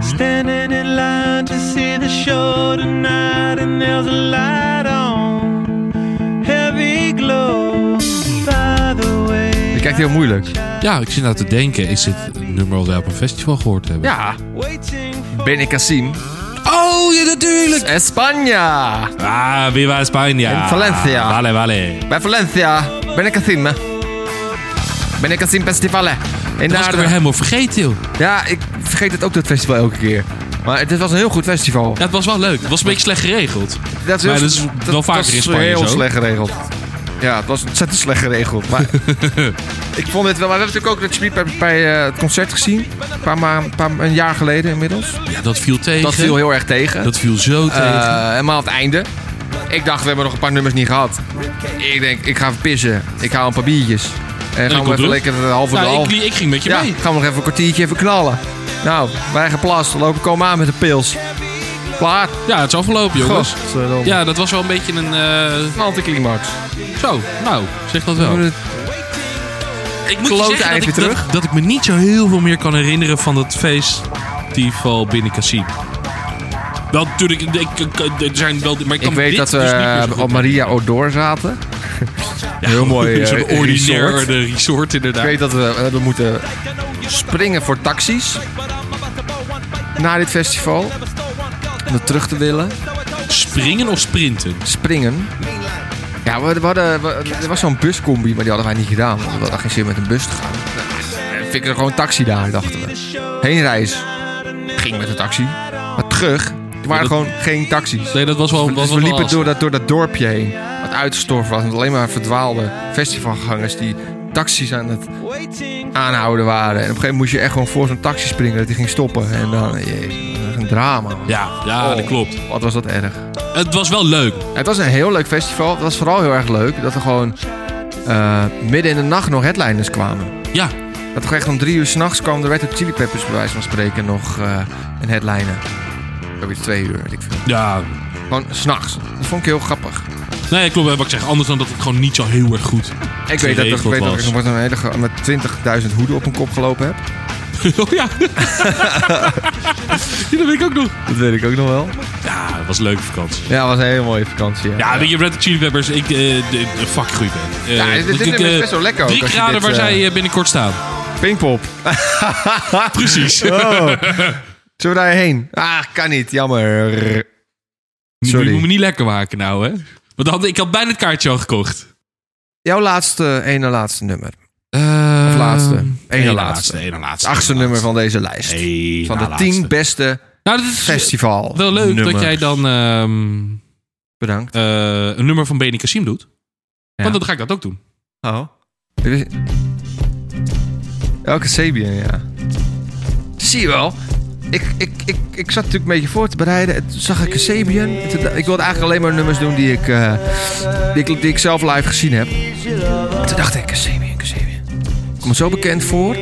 Standing in line to see the show tonight, and there's a light on, heavy glow. By the way,
Je kijkt heel moeilijk.
ja, ik zit nou te denken, is dit een nummer wat wij op een festival gehoord hebben?
Ja.
waiting
Ben ik Cassim.
Oh, ja, natuurlijk!
España.
Ah, viva España!
In Valencia.
Ah, Vale, vale.
Bij Valencia ben ik Cassim. Ben ik Cassim Festivale. En
Dat was ik weer helemaal vergeten, joh.
ja, ik vergeet het ook dat festival elke keer. Maar het was een heel goed festival.
Ja, het was wel leuk. Het was een beetje slecht geregeld.
Dat is,
Maar dat is wel vaker
was
in Spanje
heel
zo.
slecht geregeld. Ja, het was ontzettend slecht geregeld. Maar ik vond het wel. Maar we hebben natuurlijk ook dat Sweep bij, bij eh, het concert gezien. Een paar, ma- een paar een jaar geleden inmiddels.
Ja, dat viel tegen.
Dat viel heel erg tegen.
Dat viel zo
Eh,
tegen.
helemaal aan het einde. Ik dacht, we hebben nog een paar nummers niet gehad. Ik denk, ik ga even pissen. Ik haal een paar biertjes. En
je
gaan
komt
we even
terug?
lekker een halve
Nou,
half.
ik, li- ik ging met je
Ja,
mee.
gaan we nog even een kwartiertje even knallen. Nou, wij geplast. Lopen komen aan met de pils. Klaar.
Ja, het is afgelopen, jongens.
Godverdomme.
Ja, dat was wel een beetje een... eh,
Een anticlimax.
Zo, nou, zeg dat wel. Ik moet je
klote
zeggen dat
eind
ik,
weer
dat,
terug.
dat ik me niet zo heel veel meer kan herinneren van dat festival binnen Cassim. Wel, natuurlijk, ik, ik, ik- er zijn wel... Maar ik, kan
Ik weet
dit
dat
dus niet meer
we
zo goed
op Maria Odor zaten. heel mooi. eh,
Zo'n ordinair
resort.
resort, resort
Ik
inderdaad.
weet dat we hebben moeten springen voor taxis. Na dit festival. Om er terug te willen.
Springen of sprinten?
springen. Ja, we, we hadden, we- er was zo'n buscombi, maar die hadden wij niet gedaan. want We hadden geen zin met een bus te gaan. Eh, Vind ik er gewoon taxi daar, dachten we. Heenreis ging met een taxi. Maar terug, er waren
dat-
gewoon geen taxis.
Nee, dat was wel... was wel
Dus we liepen
lastig.
door dat, door dat dorpje heen. Wat uitgestorven was. Met alleen maar verdwaalde festivalgangers die taxis aan het aanhouden waren. En op een gegeven moment moest je echt gewoon voor zo'n taxi springen dat die ging stoppen. En dan, jezus, dat was een drama. man.
Ja, ja
Oh,
dat klopt.
Wat was dat erg.
Het was wel leuk.
Het was een heel leuk festival. Het was vooral heel erg leuk dat er gewoon eh, midden in de nacht nog headliners kwamen.
Ja,
Dat er echt om drie uur s'nachts kwam. Er werd op Chili Peppers bij wijze van spreken nog eh, een headliner. Zoiets twee uur, weet ik veel.
ja.
Gewoon s'nachts. Dat vond ik heel grappig.
Nee, klopt wel wat ik zeg. Anders dan dat het gewoon niet zo heel erg goed
Ik weet dat, ik
geregeld
weet dat ik
was.
nog met, een hele, ge- met 20.000 hoeden op mijn kop gelopen heb.
oh ja. ja. Dat weet ik ook nog.
Dat weet ik ook nog wel.
Ja, Ah, het was een leuke vakantie.
Ja, het was een hele mooie vakantie.
Ja, weet je, Red Hot Chili Peppers, ik, eh de, de fuck goed ben. Eh,
Ja, dit-
ik-
dit nummer is
eh,
best wel lekker ook,
Drie
als je
graden
dit,
waar
eh,
zij eh, binnenkort staan.
Pinkpop.
Precies.
Oh, Zullen we daarheen? Ah, kan niet. Jammer.
Je
Sorry.
moet me niet lekker maken nou, hè. Want dan, ik had bijna het kaartje al gekocht.
Jouw laatste, ene laatste nummer.
of
laatste.
Eén laatste.
Ene Eh, laatste.
Ene laatste.
Het achtste
Ene
nummer
laatste.
van deze lijst.
Ene
van de
laatste.
tien beste
Nou, dat is
festival.
wel leuk dat
nummers.
jij dan ehm,
Bedankt.
eh, een nummer van Beni Kassim doet. Want dan ga ik dat ook doen.
Oh. Ik wist- Elke Sabian, ja. Zie je wel. Ik, ik, ik, ik zat natuurlijk een beetje voor te bereiden. En toen zag ik een Sabian. En toen dacht- Ik wilde eigenlijk alleen maar nummers doen die ik, eh, die ik, die ik zelf live gezien heb. En toen dacht ik, Kasabian, Kasabian. Ik kom me zo bekend voor.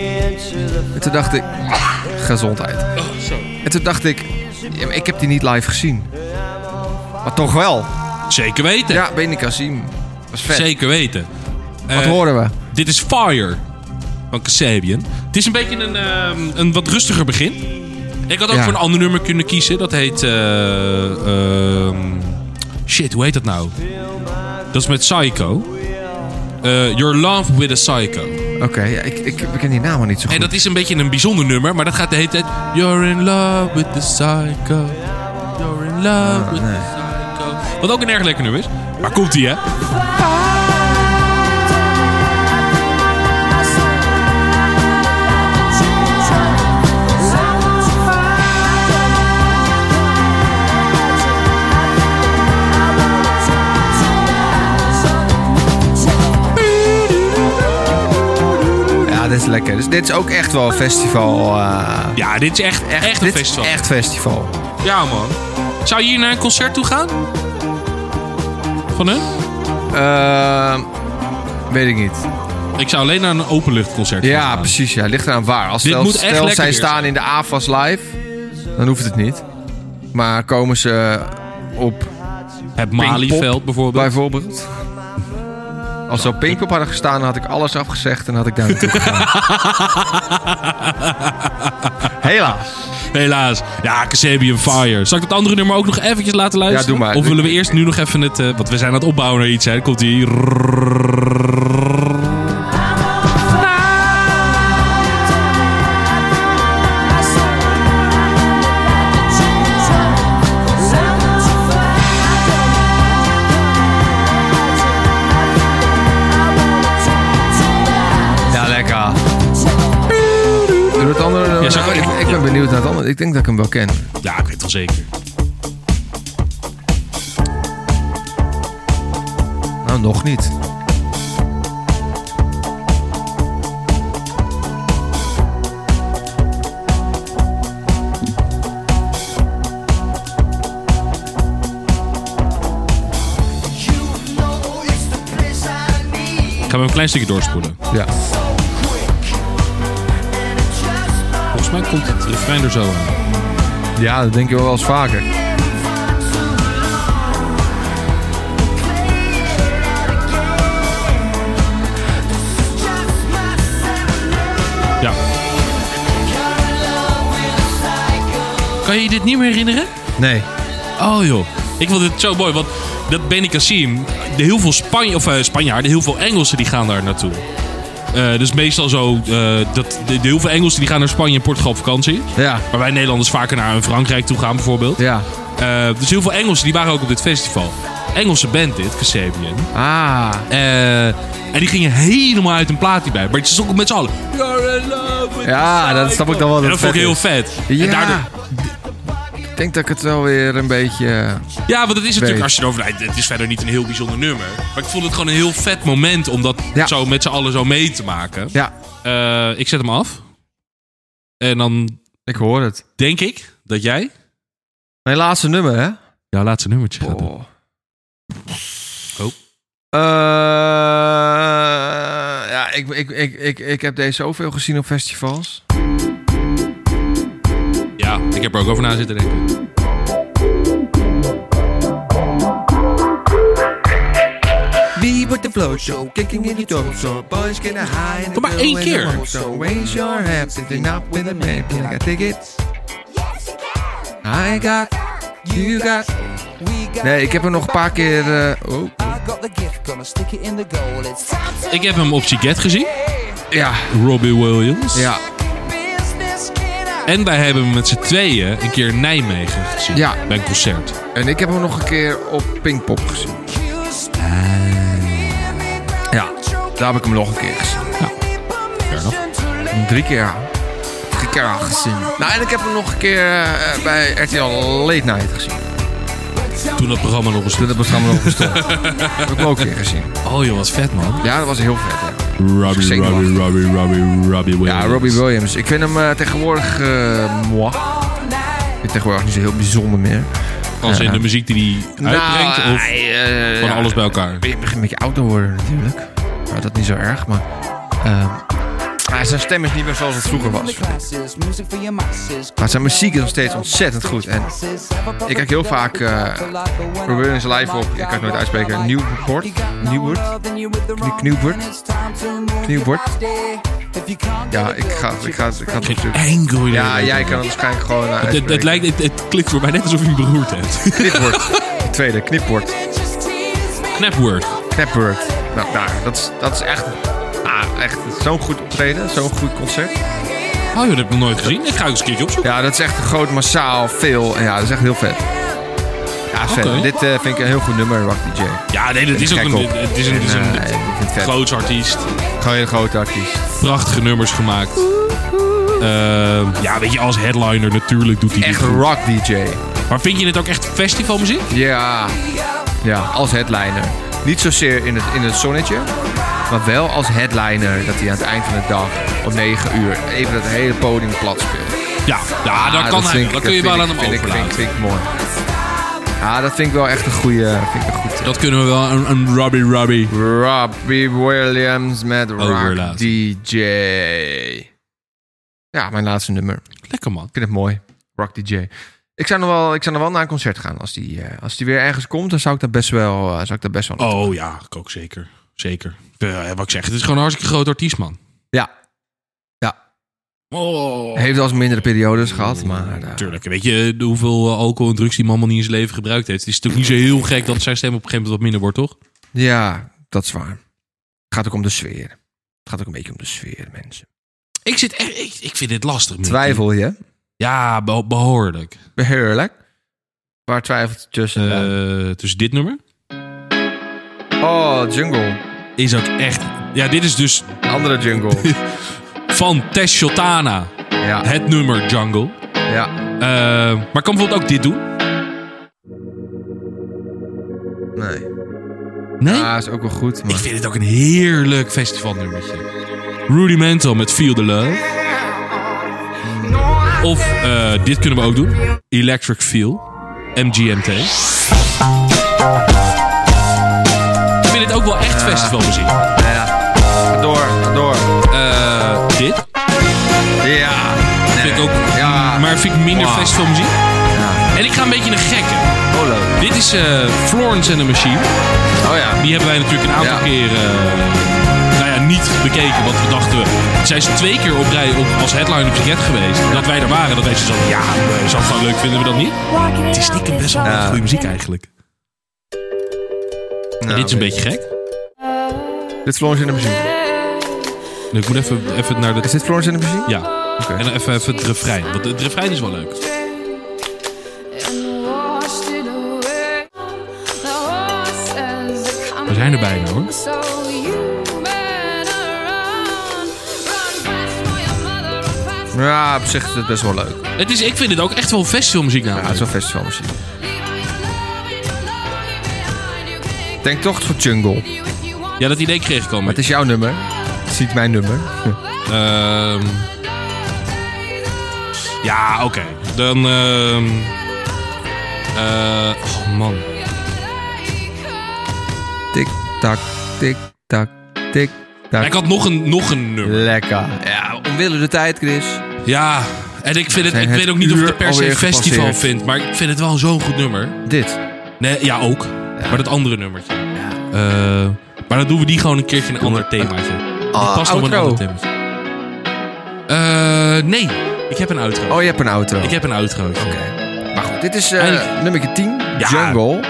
En toen dacht ik, gezondheid. En toen dacht ik, ja, maar ik heb die niet live gezien. Maar toch wel.
Zeker weten.
Ja, Benny Kassim. Was vet.
Zeker weten.
Wat
Eh,
horen we?
Dit is Fire van Kasabian. Het is een beetje een, ehm, een wat rustiger begin. Ik had ook
Ja.
voor een ander nummer kunnen kiezen. Dat heet... eh, ehm, shit, hoe heet dat nou? Dat is met Psycho. Eh, Your Love with a Psycho.
Oké, ja, ik, ik, ik ken die naam al niet zo goed.
En dat is een beetje een bijzonder nummer, maar dat gaat de hele tijd... You're in love with the psycho. You're in love
Ah,
with the psycho. Wat ook een erg lekker nummer is. Maar komt ie, hè?
Ja, dit is lekker. Dus dit is ook echt wel een festival. eh,
Ja, dit is echt, echt, een
dit is
festival.
echt festival.
Ja, man. Zou je hier naar een concert toe gaan? Van hun?
Ehm, weet ik niet.
Ik zou alleen naar een openluchtconcert willen
Ja,
gaan.
precies. Ja, ligt eraan waar. Als
Dit
stel,
moet echt
stel
lekker
zij
weer
staan
zijn.
in de AFAS live, dan hoeft het niet. Maar komen ze op
Het Malieveld
Pinkpop
bijvoorbeeld.
bijvoorbeeld? Als ze op Pinkpop hadden gestaan, dan had ik alles afgezegd en had ik daar naartoe gegaan. Helaas.
Helaas. Ja, Casabian Fire. Zal ik dat andere nummer ook nog eventjes laten luisteren?
Ja, doe maar.
Of willen we eerst nu nog even het... eh, want we zijn aan het opbouwen naar iets, hè. Dan komt die...
Ja, lekker. Doe het andere dan-
Ja, zou ik-
ik, ik ben benieuwd naar het andere. Ik denk dat ik hem wel ken.
Ja, ik weet het wel zeker.
Nou, nog niet.
Gaan we hem een klein stukje doorspoelen.
Ja.
Volgens mij komt het refrein er zo aan.
Ja, dat denk je wel eens vaker.
Ja. Kan je je dit niet meer herinneren?
Nee.
Oh joh. Ik vond het zo mooi, want dat Benny Cassim, de heel veel Spanje of, eh, Spanjaarden, heel veel Engelsen die gaan daar naartoe. Eh, dus meestal zo, eh, dat de, de heel veel Engelsen die gaan naar Spanje en Portugal op vakantie.
Ja.
Waar wij Nederlanders vaker naar een Frankrijk toe gaan bijvoorbeeld.
Ja.
Eh, dus heel veel Engelsen die waren ook op dit festival. Engelse band dit, Casabian.
Ah.
Eh, en die gingen helemaal uit hun plaat hierbij. Maar het is ook met z'n allen. You're in love with
Ja,
the
dat snap ik dan wel
En
dat
dat
het
vond ik heel
vet
vet.
Ja.
En daardoor,
Ik denk dat ik het wel weer een beetje... eh,
ja, want het is natuurlijk,
Weet.
als je erover nee, het is verder niet een heel bijzonder nummer. Maar ik vond het gewoon een heel vet moment om dat
Ja.
zo met z'n allen zo mee te maken.
Ja,
Eh, ik zet hem af. En dan
ik hoor het.
denk ik dat jij
Mijn laatste nummer, hè?
jouw laatste nummertje gaat doen.
Oh.
Oh.
Eh, ja, ik, ik, ik, ik, ik heb deze zoveel gezien op festivals.
Ja, ik heb er ook over na zitten denken.
Wie wordt de
can flow show, kicking in your torso. Boys can high and
Kom maar één keer.
So raise your hands, sitting up with a man. I got tickets.
Yes, you can.
I got, you got. Nee, ik heb hem nog een paar keer. eh, oh,
Ik heb hem op Siget gezien.
ja,
Robbie Williams.
ja,
En wij hebben hem met z'n tweeën een keer in Nijmegen gezien.
Ja.
Bij een concert.
En ik heb hem nog een keer op Pinkpop gezien. Eh, Ja, daar heb ik hem nog een keer gezien. Drie keer. ja. Drie keer al gezien. Nou, en ik heb hem nog een keer eh, bij RTL Late Night gezien.
Toen dat programma nog eens...
Toen het programma nog bestond. dat heb ik hem ook een keer gezien.
Oh joh, wat vet man.
Ja, dat was heel vet. Ja,
Robbie,
Zeker
Robbie, Robbie, Robbie, Robbie Williams.
ja Robbie Williams. Ik vind hem eh, tegenwoordig... eh moi. Ik vind hem tegenwoordig niet zo heel bijzonder meer.
Als in de muziek die
Nou,
hij uitbrengt of
hij, eh,
van
ja,
alles bij elkaar?
Je begint een beetje oud te worden natuurlijk. Nou, dat is niet zo erg, maar... ehm, maar zijn stem is niet meer zoals het vroeger was. Maar zijn muziek is nog steeds ontzettend goed. En ik kijk heel vaak eh Robbie Williams live op, ik kan het nooit uitspreken, Newport. Newport. Knie- Newport. Newport. Ja, ik ga, ik ga, ik ga het
Geen
opzoeken.
enkel idee.
Ja, jij kan het waarschijnlijk gewoon eh,
Het, het,
uitspreken.
lijkt, het, het klinkt voor mij net alsof je een beroerd hebt.
Knipwoord. Tweede, knipwoord.
Knapword.
Knapwoord. Nou, nou dat, is, dat is echt, ah, echt zo'n goed optreden, zo'n goed concert.
Oh joh, dat heb ik nog nooit gezien. Ik ga ook eens een keertje opzoeken.
Ja, dat is echt een groot, massaal, veel. En Ja, dat is echt heel vet. Ja, vet.
Oké.
Dit eh, vind ik een heel goed nummer, Rock DJ.
Ja, nee, dat is ook
Kijk
een,
op.
het is een, het is
En,
een
eh, ik vind het vet.
groots artiest.
Gewoon een grote artiest.
Prachtige nummers gemaakt. Ehm, ja, weet je, als headliner natuurlijk doet hij dit
Echt
goed.
rock DJ.
Maar vind je dit ook echt festivalmuziek?
Ja. Ja, als headliner. Niet zozeer in het, in het zonnetje, maar wel als headliner. Dat hij aan het eind van de dag om 9 uur even dat hele podium plat speelt.
Ja, ja dat
Ah,
kan hij.
vind ik-
Dat kun je
vind
wel
ik-
aan hem
vind ik-
overlaten.
vind ik- vind ik mooi. Ja, dat vind ik wel echt een goede. Vind ik een goed.
Dat kunnen we wel een, een Robbie Robbie.
Robbie Williams met Rock
Overlaten.
DJ. Ja, mijn laatste nummer. Ik
Lekker man.
vind het mooi. Rock DJ. Ik zou nog wel, ik zou nog wel naar een concert gaan. Als die, eh, als die weer ergens komt, dan zou ik dat best wel. eh, zou ik dat best wel
Oh ja, ik ook zeker. Zeker. Eh, wat ik zeg, het is gewoon een hartstikke groot artiest, man.
Ja. Ja.
Oh. Mm,
Heeft wel eens mindere periodes gehad, maar. eh,
Tuurlijk. Weet je de hoeveel eh, alcohol en drugs die man allemaal niet in zijn leven gebruikt heeft? Het is natuurlijk niet zo heel gek dat zijn stem op een gegeven moment wat minder wordt, toch?
ja, dat is waar. Het gaat ook om de sfeer. Het gaat ook een beetje om de sfeer, mensen.
Ik, zit echt, ik, ik vind dit lastig. Mickey.
Twijfel je?
Ja, be- behoorlijk.
Beheerlijk. Waar twijfelt het tussen? dan?
Eh, dus dit nummer
oh, jungle.
is ook echt... Ja, dit is dus
Andere jungle.
van Tess Shotana.
ja,
Het nummer Jungle.
ja.
Eh, maar kan bijvoorbeeld ook dit doen?
Nee.
Nee?
Ja, is ook wel goed,
Ik
maar...
vind het ook een heerlijk festivalnummertje. Rudimental met Feel the Love. Of eh, dit kunnen we ook doen. Electric Feel. MGMT. Ik vind het ook wel echt festivalmuziek.
Ga Door, ga door.
Eh, dit
Ja.
vind ik ook...
Ja.
Maar vind ik minder
Wow.
festivalmuziek. En ik ga een beetje een gekke.
Polo.
Dit is eh, Florence and the Machine.
Oh ja.
Die hebben wij natuurlijk een aantal
Ja.
keer eh, nou ja, niet bekeken. Want we dachten, zij is twee keer op rij op, als headline op Siget geweest. Dat wij er waren, dat wij ze zo, ja, eh, zo gewoon leuk vinden we dat niet. Het is stiekem best wel
Ja.
goede muziek eigenlijk.
Nou,
dit is een beetje gek.
Dit is Florence in de muziek.
Ik moet even, even naar
Is
de...
dit Florence in de muziek?
Ja. En dan even, even het refrein. Want het refrein is wel leuk.
We zijn er bijna hoor.
Ja, op zich is het best wel leuk.
Het is, ik vind het ook echt wel festivalmuziek
Ja, het is
namelijk.
wel festivalmuziek. Ik Denk toch voor jungle. Maar
Ja, dat idee kreeg ik al.
het is jouw nummer. Het is niet mijn nummer.
Ehm, ja, oké. Dan... ehm, eh, oh man.
Tik, tak, tik, tak, tik, tak.
Ik had nog een, nog een nummer.
Lekker. Ja, omwille de tijd, Chris.
Ja, en ik, vind het,
Zijn
ik
het
weet ook niet of ik het
uur
per se
alweer
een festival
gepasseerd?
vind, maar ik vind het wel zo'n goed nummer.
Dit.
Nee, ja, ook. Maar dat andere nummertje. Eh, maar Maar dan doen we die gewoon een keertje een ander themaatje. Die
Ah,
past nog een
outro.
ander themaatje. Eh, nee, ik heb een outro.
Oh, je hebt een outro.
Ik heb een outro.
Maar goed, dit is eh,
Eindelijk.
nummer 10,
Ja.
Jungle.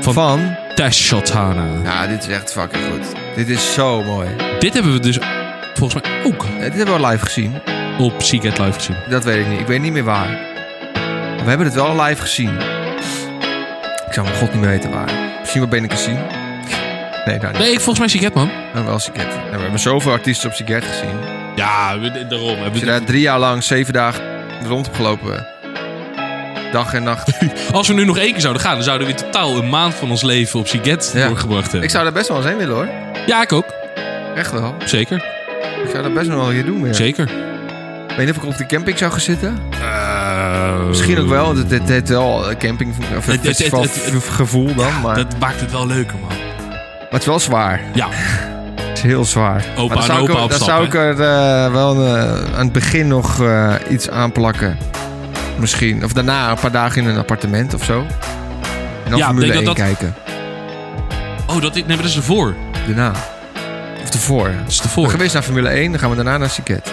Van-
Van...
Tashotana.
Ja, dit is echt fucking goed. Dit is zo mooi. Eh,
Dit hebben we dus volgens mij ook
dit hebben we live gezien.
op Seek It Live gezien.
Dat weet ik niet. Ik weet niet meer waar. Maar we hebben het wel live gezien. Ik zou mijn god niet meer weten waar. Misschien wel ben ik gezien. Nee, daar niet.
Nee, ik, volgens mij Seek It, man.
Maar wel Siget. Nou, we hebben zoveel artiesten op Siget gezien.
Ja, we- daarom. Hebben we
Als je daar drie jaar lang, zeven dagen rond hebt gelopen. Dag en nacht.
Als we nu nog één keer zouden gaan, dan zouden we in totaal een maand van ons leven op Siget
Ja.
doorgebracht hebben.
ik zou daar best wel eens heen willen hoor.
Ja, ik ook.
Echt wel.
Zeker.
Ik zou daar best wel een keer doen weer.
Zeker.
Ik weet niet of ik op de camping zou gaan zitten.
Eh,
Misschien ook wel, want het, het heeft wel een camping of een
Het- het-
festival
het- het-
gevoel dan. maar,
Dat maakt het wel leuker, man.
maar het is wel zwaar.
Ja.
Het is heel zwaar.
Opa
maar dan
en
zou ik,
opa
er-
op
dan
stap,
zou
hè?
ik er eh, wel eh, aan het begin nog eh, iets aan plakken. Misschien. Of daarna een paar dagen in een appartement of zo. En dan
Ja,
Formule
ik
1
denk dat dat-
kijken.
Oh, dat, nee, maar dat is ervoor.
Daarna. Of tevoren.
Dat is
We
ervoor.
gaan eerst naar Formule 1, dan gaan we daarna naar Siket.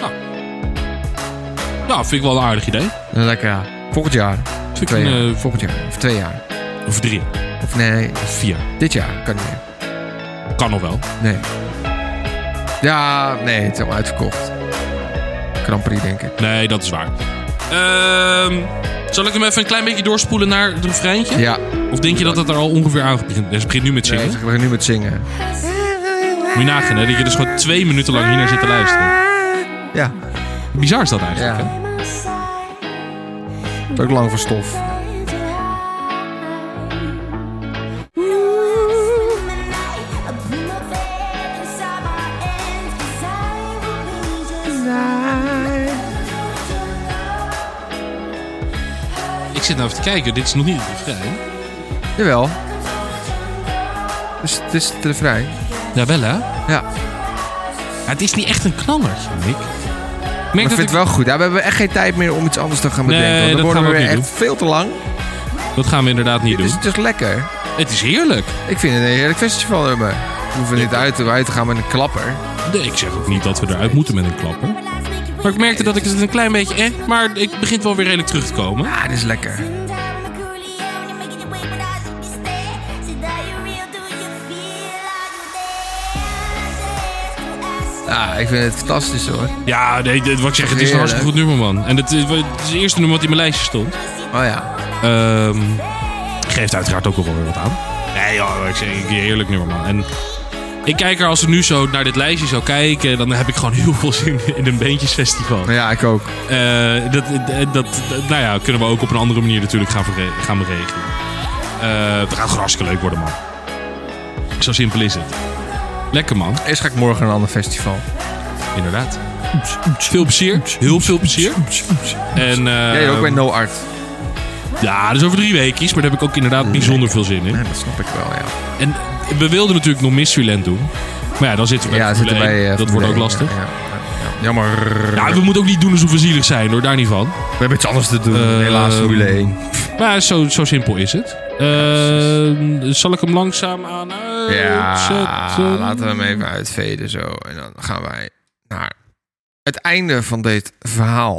Ja, vind ik wel een aardig idee.
En lekker ja. Volgend jaar.
Vind ik
Twee
een,
jaar.
eh,
Volgend jaar. Of twee jaar.
of drie,
Of nee,
of vier.
dit jaar. Kan niet meer.
Kan nog wel.
Nee. Ja, nee, het is al uitverkocht. Kramperie, denk ik.
Nee, dat is waar. Ehm, zal ik hem even een klein beetje doorspoelen naar het refreintje?
Ja,
Of denk je dat het er al ongeveer aan begint? Nee, Ze begint nu met zingen.
nee, we gaan nu met zingen.
Moet je nagaan, hè? Dat je dus gewoon twee minuten lang hier naar zit te luisteren.
Ja,
Bizar is dat eigenlijk,
ja.
hè?
Het
is ook lang voor stof.
Ik zit nou even te kijken. Dit is nog niet het refrein.
Jawel. Dus het is te vrij.
Ja, wel, hè?
Ja,
Ja, het is niet echt een knallertje, Nick. Ik merk dat
ik vind het
ik-
wel goed. Ja, we hebben echt geen tijd meer om iets anders te gaan bedenken.
Nee,
want
dat
dan worden
gaan
we
we
weer
ook
echt
niet
veel te lang.
Dat gaan we inderdaad niet
Dit is,
doen.
het is lekker.
Het is heerlijk.
Ik vind het een heerlijk festivalnummer. We hoeven niet uit, uit te gaan met een klapper.
Nee, ik zeg ook niet dat we eruit moeten met een klapper. Maar ik merkte dat ik het een klein beetje... Eh, maar ik begint wel weer redelijk terug te komen.
Ah, dit is lekker. Ah, ik vind het fantastisch hoor.
Ja, nee, dit- wat ik zeg, het is een
Heerlijk.
hartstikke goed nummer, man. En het, is- het is het eerste nummer wat in mijn lijstje stond.
Oh ja.
Ehm, geeft uiteraard ook wel weer wat aan. Nee joh, ik zeg, een heerlijk nummer man. En ik kijk er als ik nu zo naar dit lijstje zou kijken, dan heb ik gewoon heel veel zin in een beentjesfestival.
Ja, ik ook.
Eh, dat, dat, dat- nou ja, kunnen we ook op een andere manier natuurlijk gaan, verre- gaan beregelen. Eh, het gaat gewoon hartstikke leuk worden man. Zo simpel is het. Lekker man,
Eerst ga ik morgen naar een ander festival.
inderdaad. Veel plezier, heel veel plezier. En, eh,
Jij ook bij No Art.
ja, dat is over drie weekjes, maar daar heb ik ook inderdaad bijzonder veel zin in.
Ja, dat snap ik wel, ja.
En we wilden natuurlijk nog Mysteryland doen. Maar ja, dan zitten we bij
ja,
Formule
zitten wij,
1.
eh,
Dat
Formule
wordt ook
1,
lastig.
ja, ja, ja. Jammer.
Ja, we moeten ook niet doen alsof we zielig zijn hoor, daar niet van.
we hebben iets anders te doen.
Eh,
Helaas, Formule 1.
Maar Nou, zo, zo simpel is het. Eh, zal ik hem langzaam aan
Ja,
uitzetten?
laten we hem even uitveden zo. En dan gaan wij naar het einde van dit verhaal.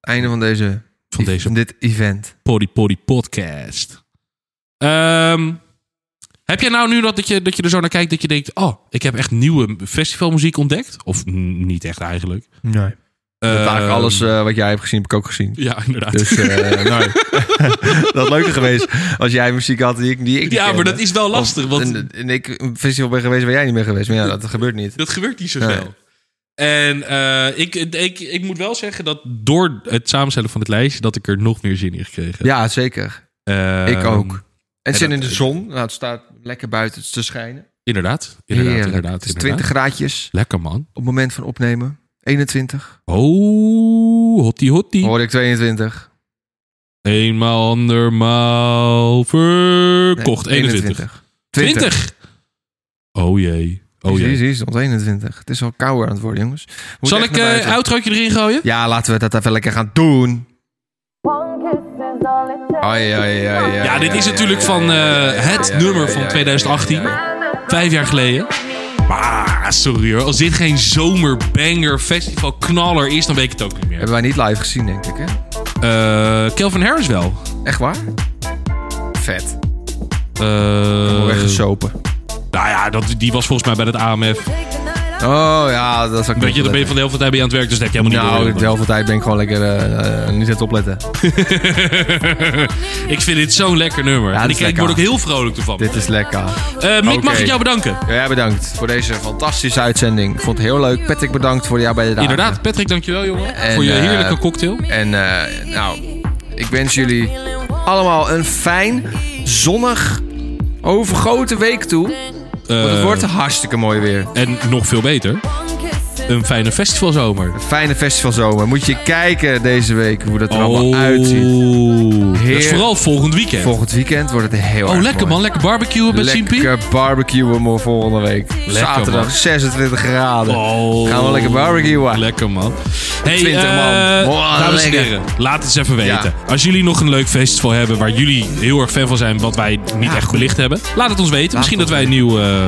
Het einde van deze...
Van deze
Van dit event.
Poddy Poddy Podcast. Ehm, heb jij nou nu dat, dat, je, dat je er zo naar kijkt dat je denkt... Oh, ik heb echt nieuwe festivalmuziek ontdekt? Of mm, niet echt eigenlijk.
Nee.
Ehm,
eigenlijk alles eh, wat jij hebt gezien, heb ik ook gezien.
Ja, inderdaad.
Dus, eh nou, dat had leuker geweest als jij muziek had die ik, die ik niet
ja, maar
kende.
dat is wel lastig.
Of-
want
En, en ik een festival ben geweest waar jij niet meer geweest. Maar ja, dat gebeurt niet.
Dat gebeurt niet zo
Nee.
snel. En eh, ik, ik, ik moet wel zeggen dat door het samenstellen van het lijstje... dat ik er nog meer zin in gekregen heb.
Ja, zeker.
Ehm,
ik ook. En zin
dat-
in de zon. Nou, het staat lekker buiten te schijnen.
Inderdaad. Inderdaad,
Heerlijk.
inderdaad.
Het is
inderdaad.
20 graadjes
Lekker, man.
op het moment van opnemen. 21.
Oh, hottie hottie.
Hoorde ik 22.
Eenmaal andermaal
Nee,
verkocht. 21.
20.
20. Oh jee. Oh
Zie je,
jee.
zie je, stond 21. Het is al kouder aan het worden, jongens. We moeten
Zal
echt
ik eh,
naar
een
buiten.
outrootje erin gooien?
Ja, laten we dat even lekker gaan doen. Ai, ai, ai, ai,
Ja, dit
ai,
is
ai,
natuurlijk
ai,
van
ai,
eh,
ai,
het
ai,
nummer
ai,
van
ai,
2018.
ai, ai, ai.
Vijf jaar geleden. Maar sorry hoor, als dit geen zomerbanger festivalknaller is, dan weet ik het ook niet meer.
Hebben wij niet live gezien, denk ik, hè?
Eh, Calvin Harris wel.
Echt waar? Vet.
Eh,
Gewoon echt gesopen.
nou ja, dat, die was volgens mij bij het AMF.
Oh ja, dat is ook
Weet je, dan ben je van de helft van de tijd bij je aan het werk, dus dat heb je helemaal niet
Nou,
door.
de helft van de tijd ben ik gewoon lekker eh, eh, niet aan het opletten.
Ik vind dit zo'n lekker nummer. en
dat
ik
is
ik
lekker.
word ook heel vrolijk ervan.
Dit is lekker.
Eh, Mick, mag
Oké.
ik jou bedanken?
Ja, jij bedankt voor deze fantastische uitzending. Ik vond het heel leuk. Patrick, bedankt voor jouw bijdrage.
Inderdaad, Patrick, dankjewel jongen.
En,
voor je
eh,
heerlijke cocktail.
En eh, nou, ik wens jullie allemaal een fijn, zonnig, overgoten week toe. Want het
Eh,
wordt hartstikke mooi weer.
En nog veel beter, een fijne festivalzomer.
Fijne festivalzomer. Moet je kijken deze week hoe dat er allemaal uitziet.
Oh, dat is
Heer-
vooral volgend weekend.
Volgend weekend wordt het heel
oh,
erg
lekker
mooi.
man. Lekker barbecuen met Simpie.
Lekker barbecuen maar volgende week. Zaterdag
man.
26 graden.
Oh.
Gaan we lekker barbecuen.
Lekker man. Hey,
20 man.
eh,
Wow,
dames en
lekker.
heren, laat het eens even weten.
Ja.
Als jullie nog een leuk festival hebben waar jullie heel erg fan van zijn, wat wij niet echt belicht hebben, laat het ons weten. Misschien dat wij een nieuw, eh,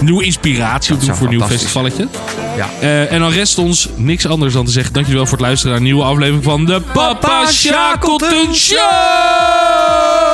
nieuwe inspiratie opdoen
zou
voor een nieuw
fantastisch
festivalletje.
Ja.
Eh, en dan rest ons niks anders dan te zeggen: dankjewel voor het luisteren naar een nieuwe aflevering van de Papa Shackleton Show!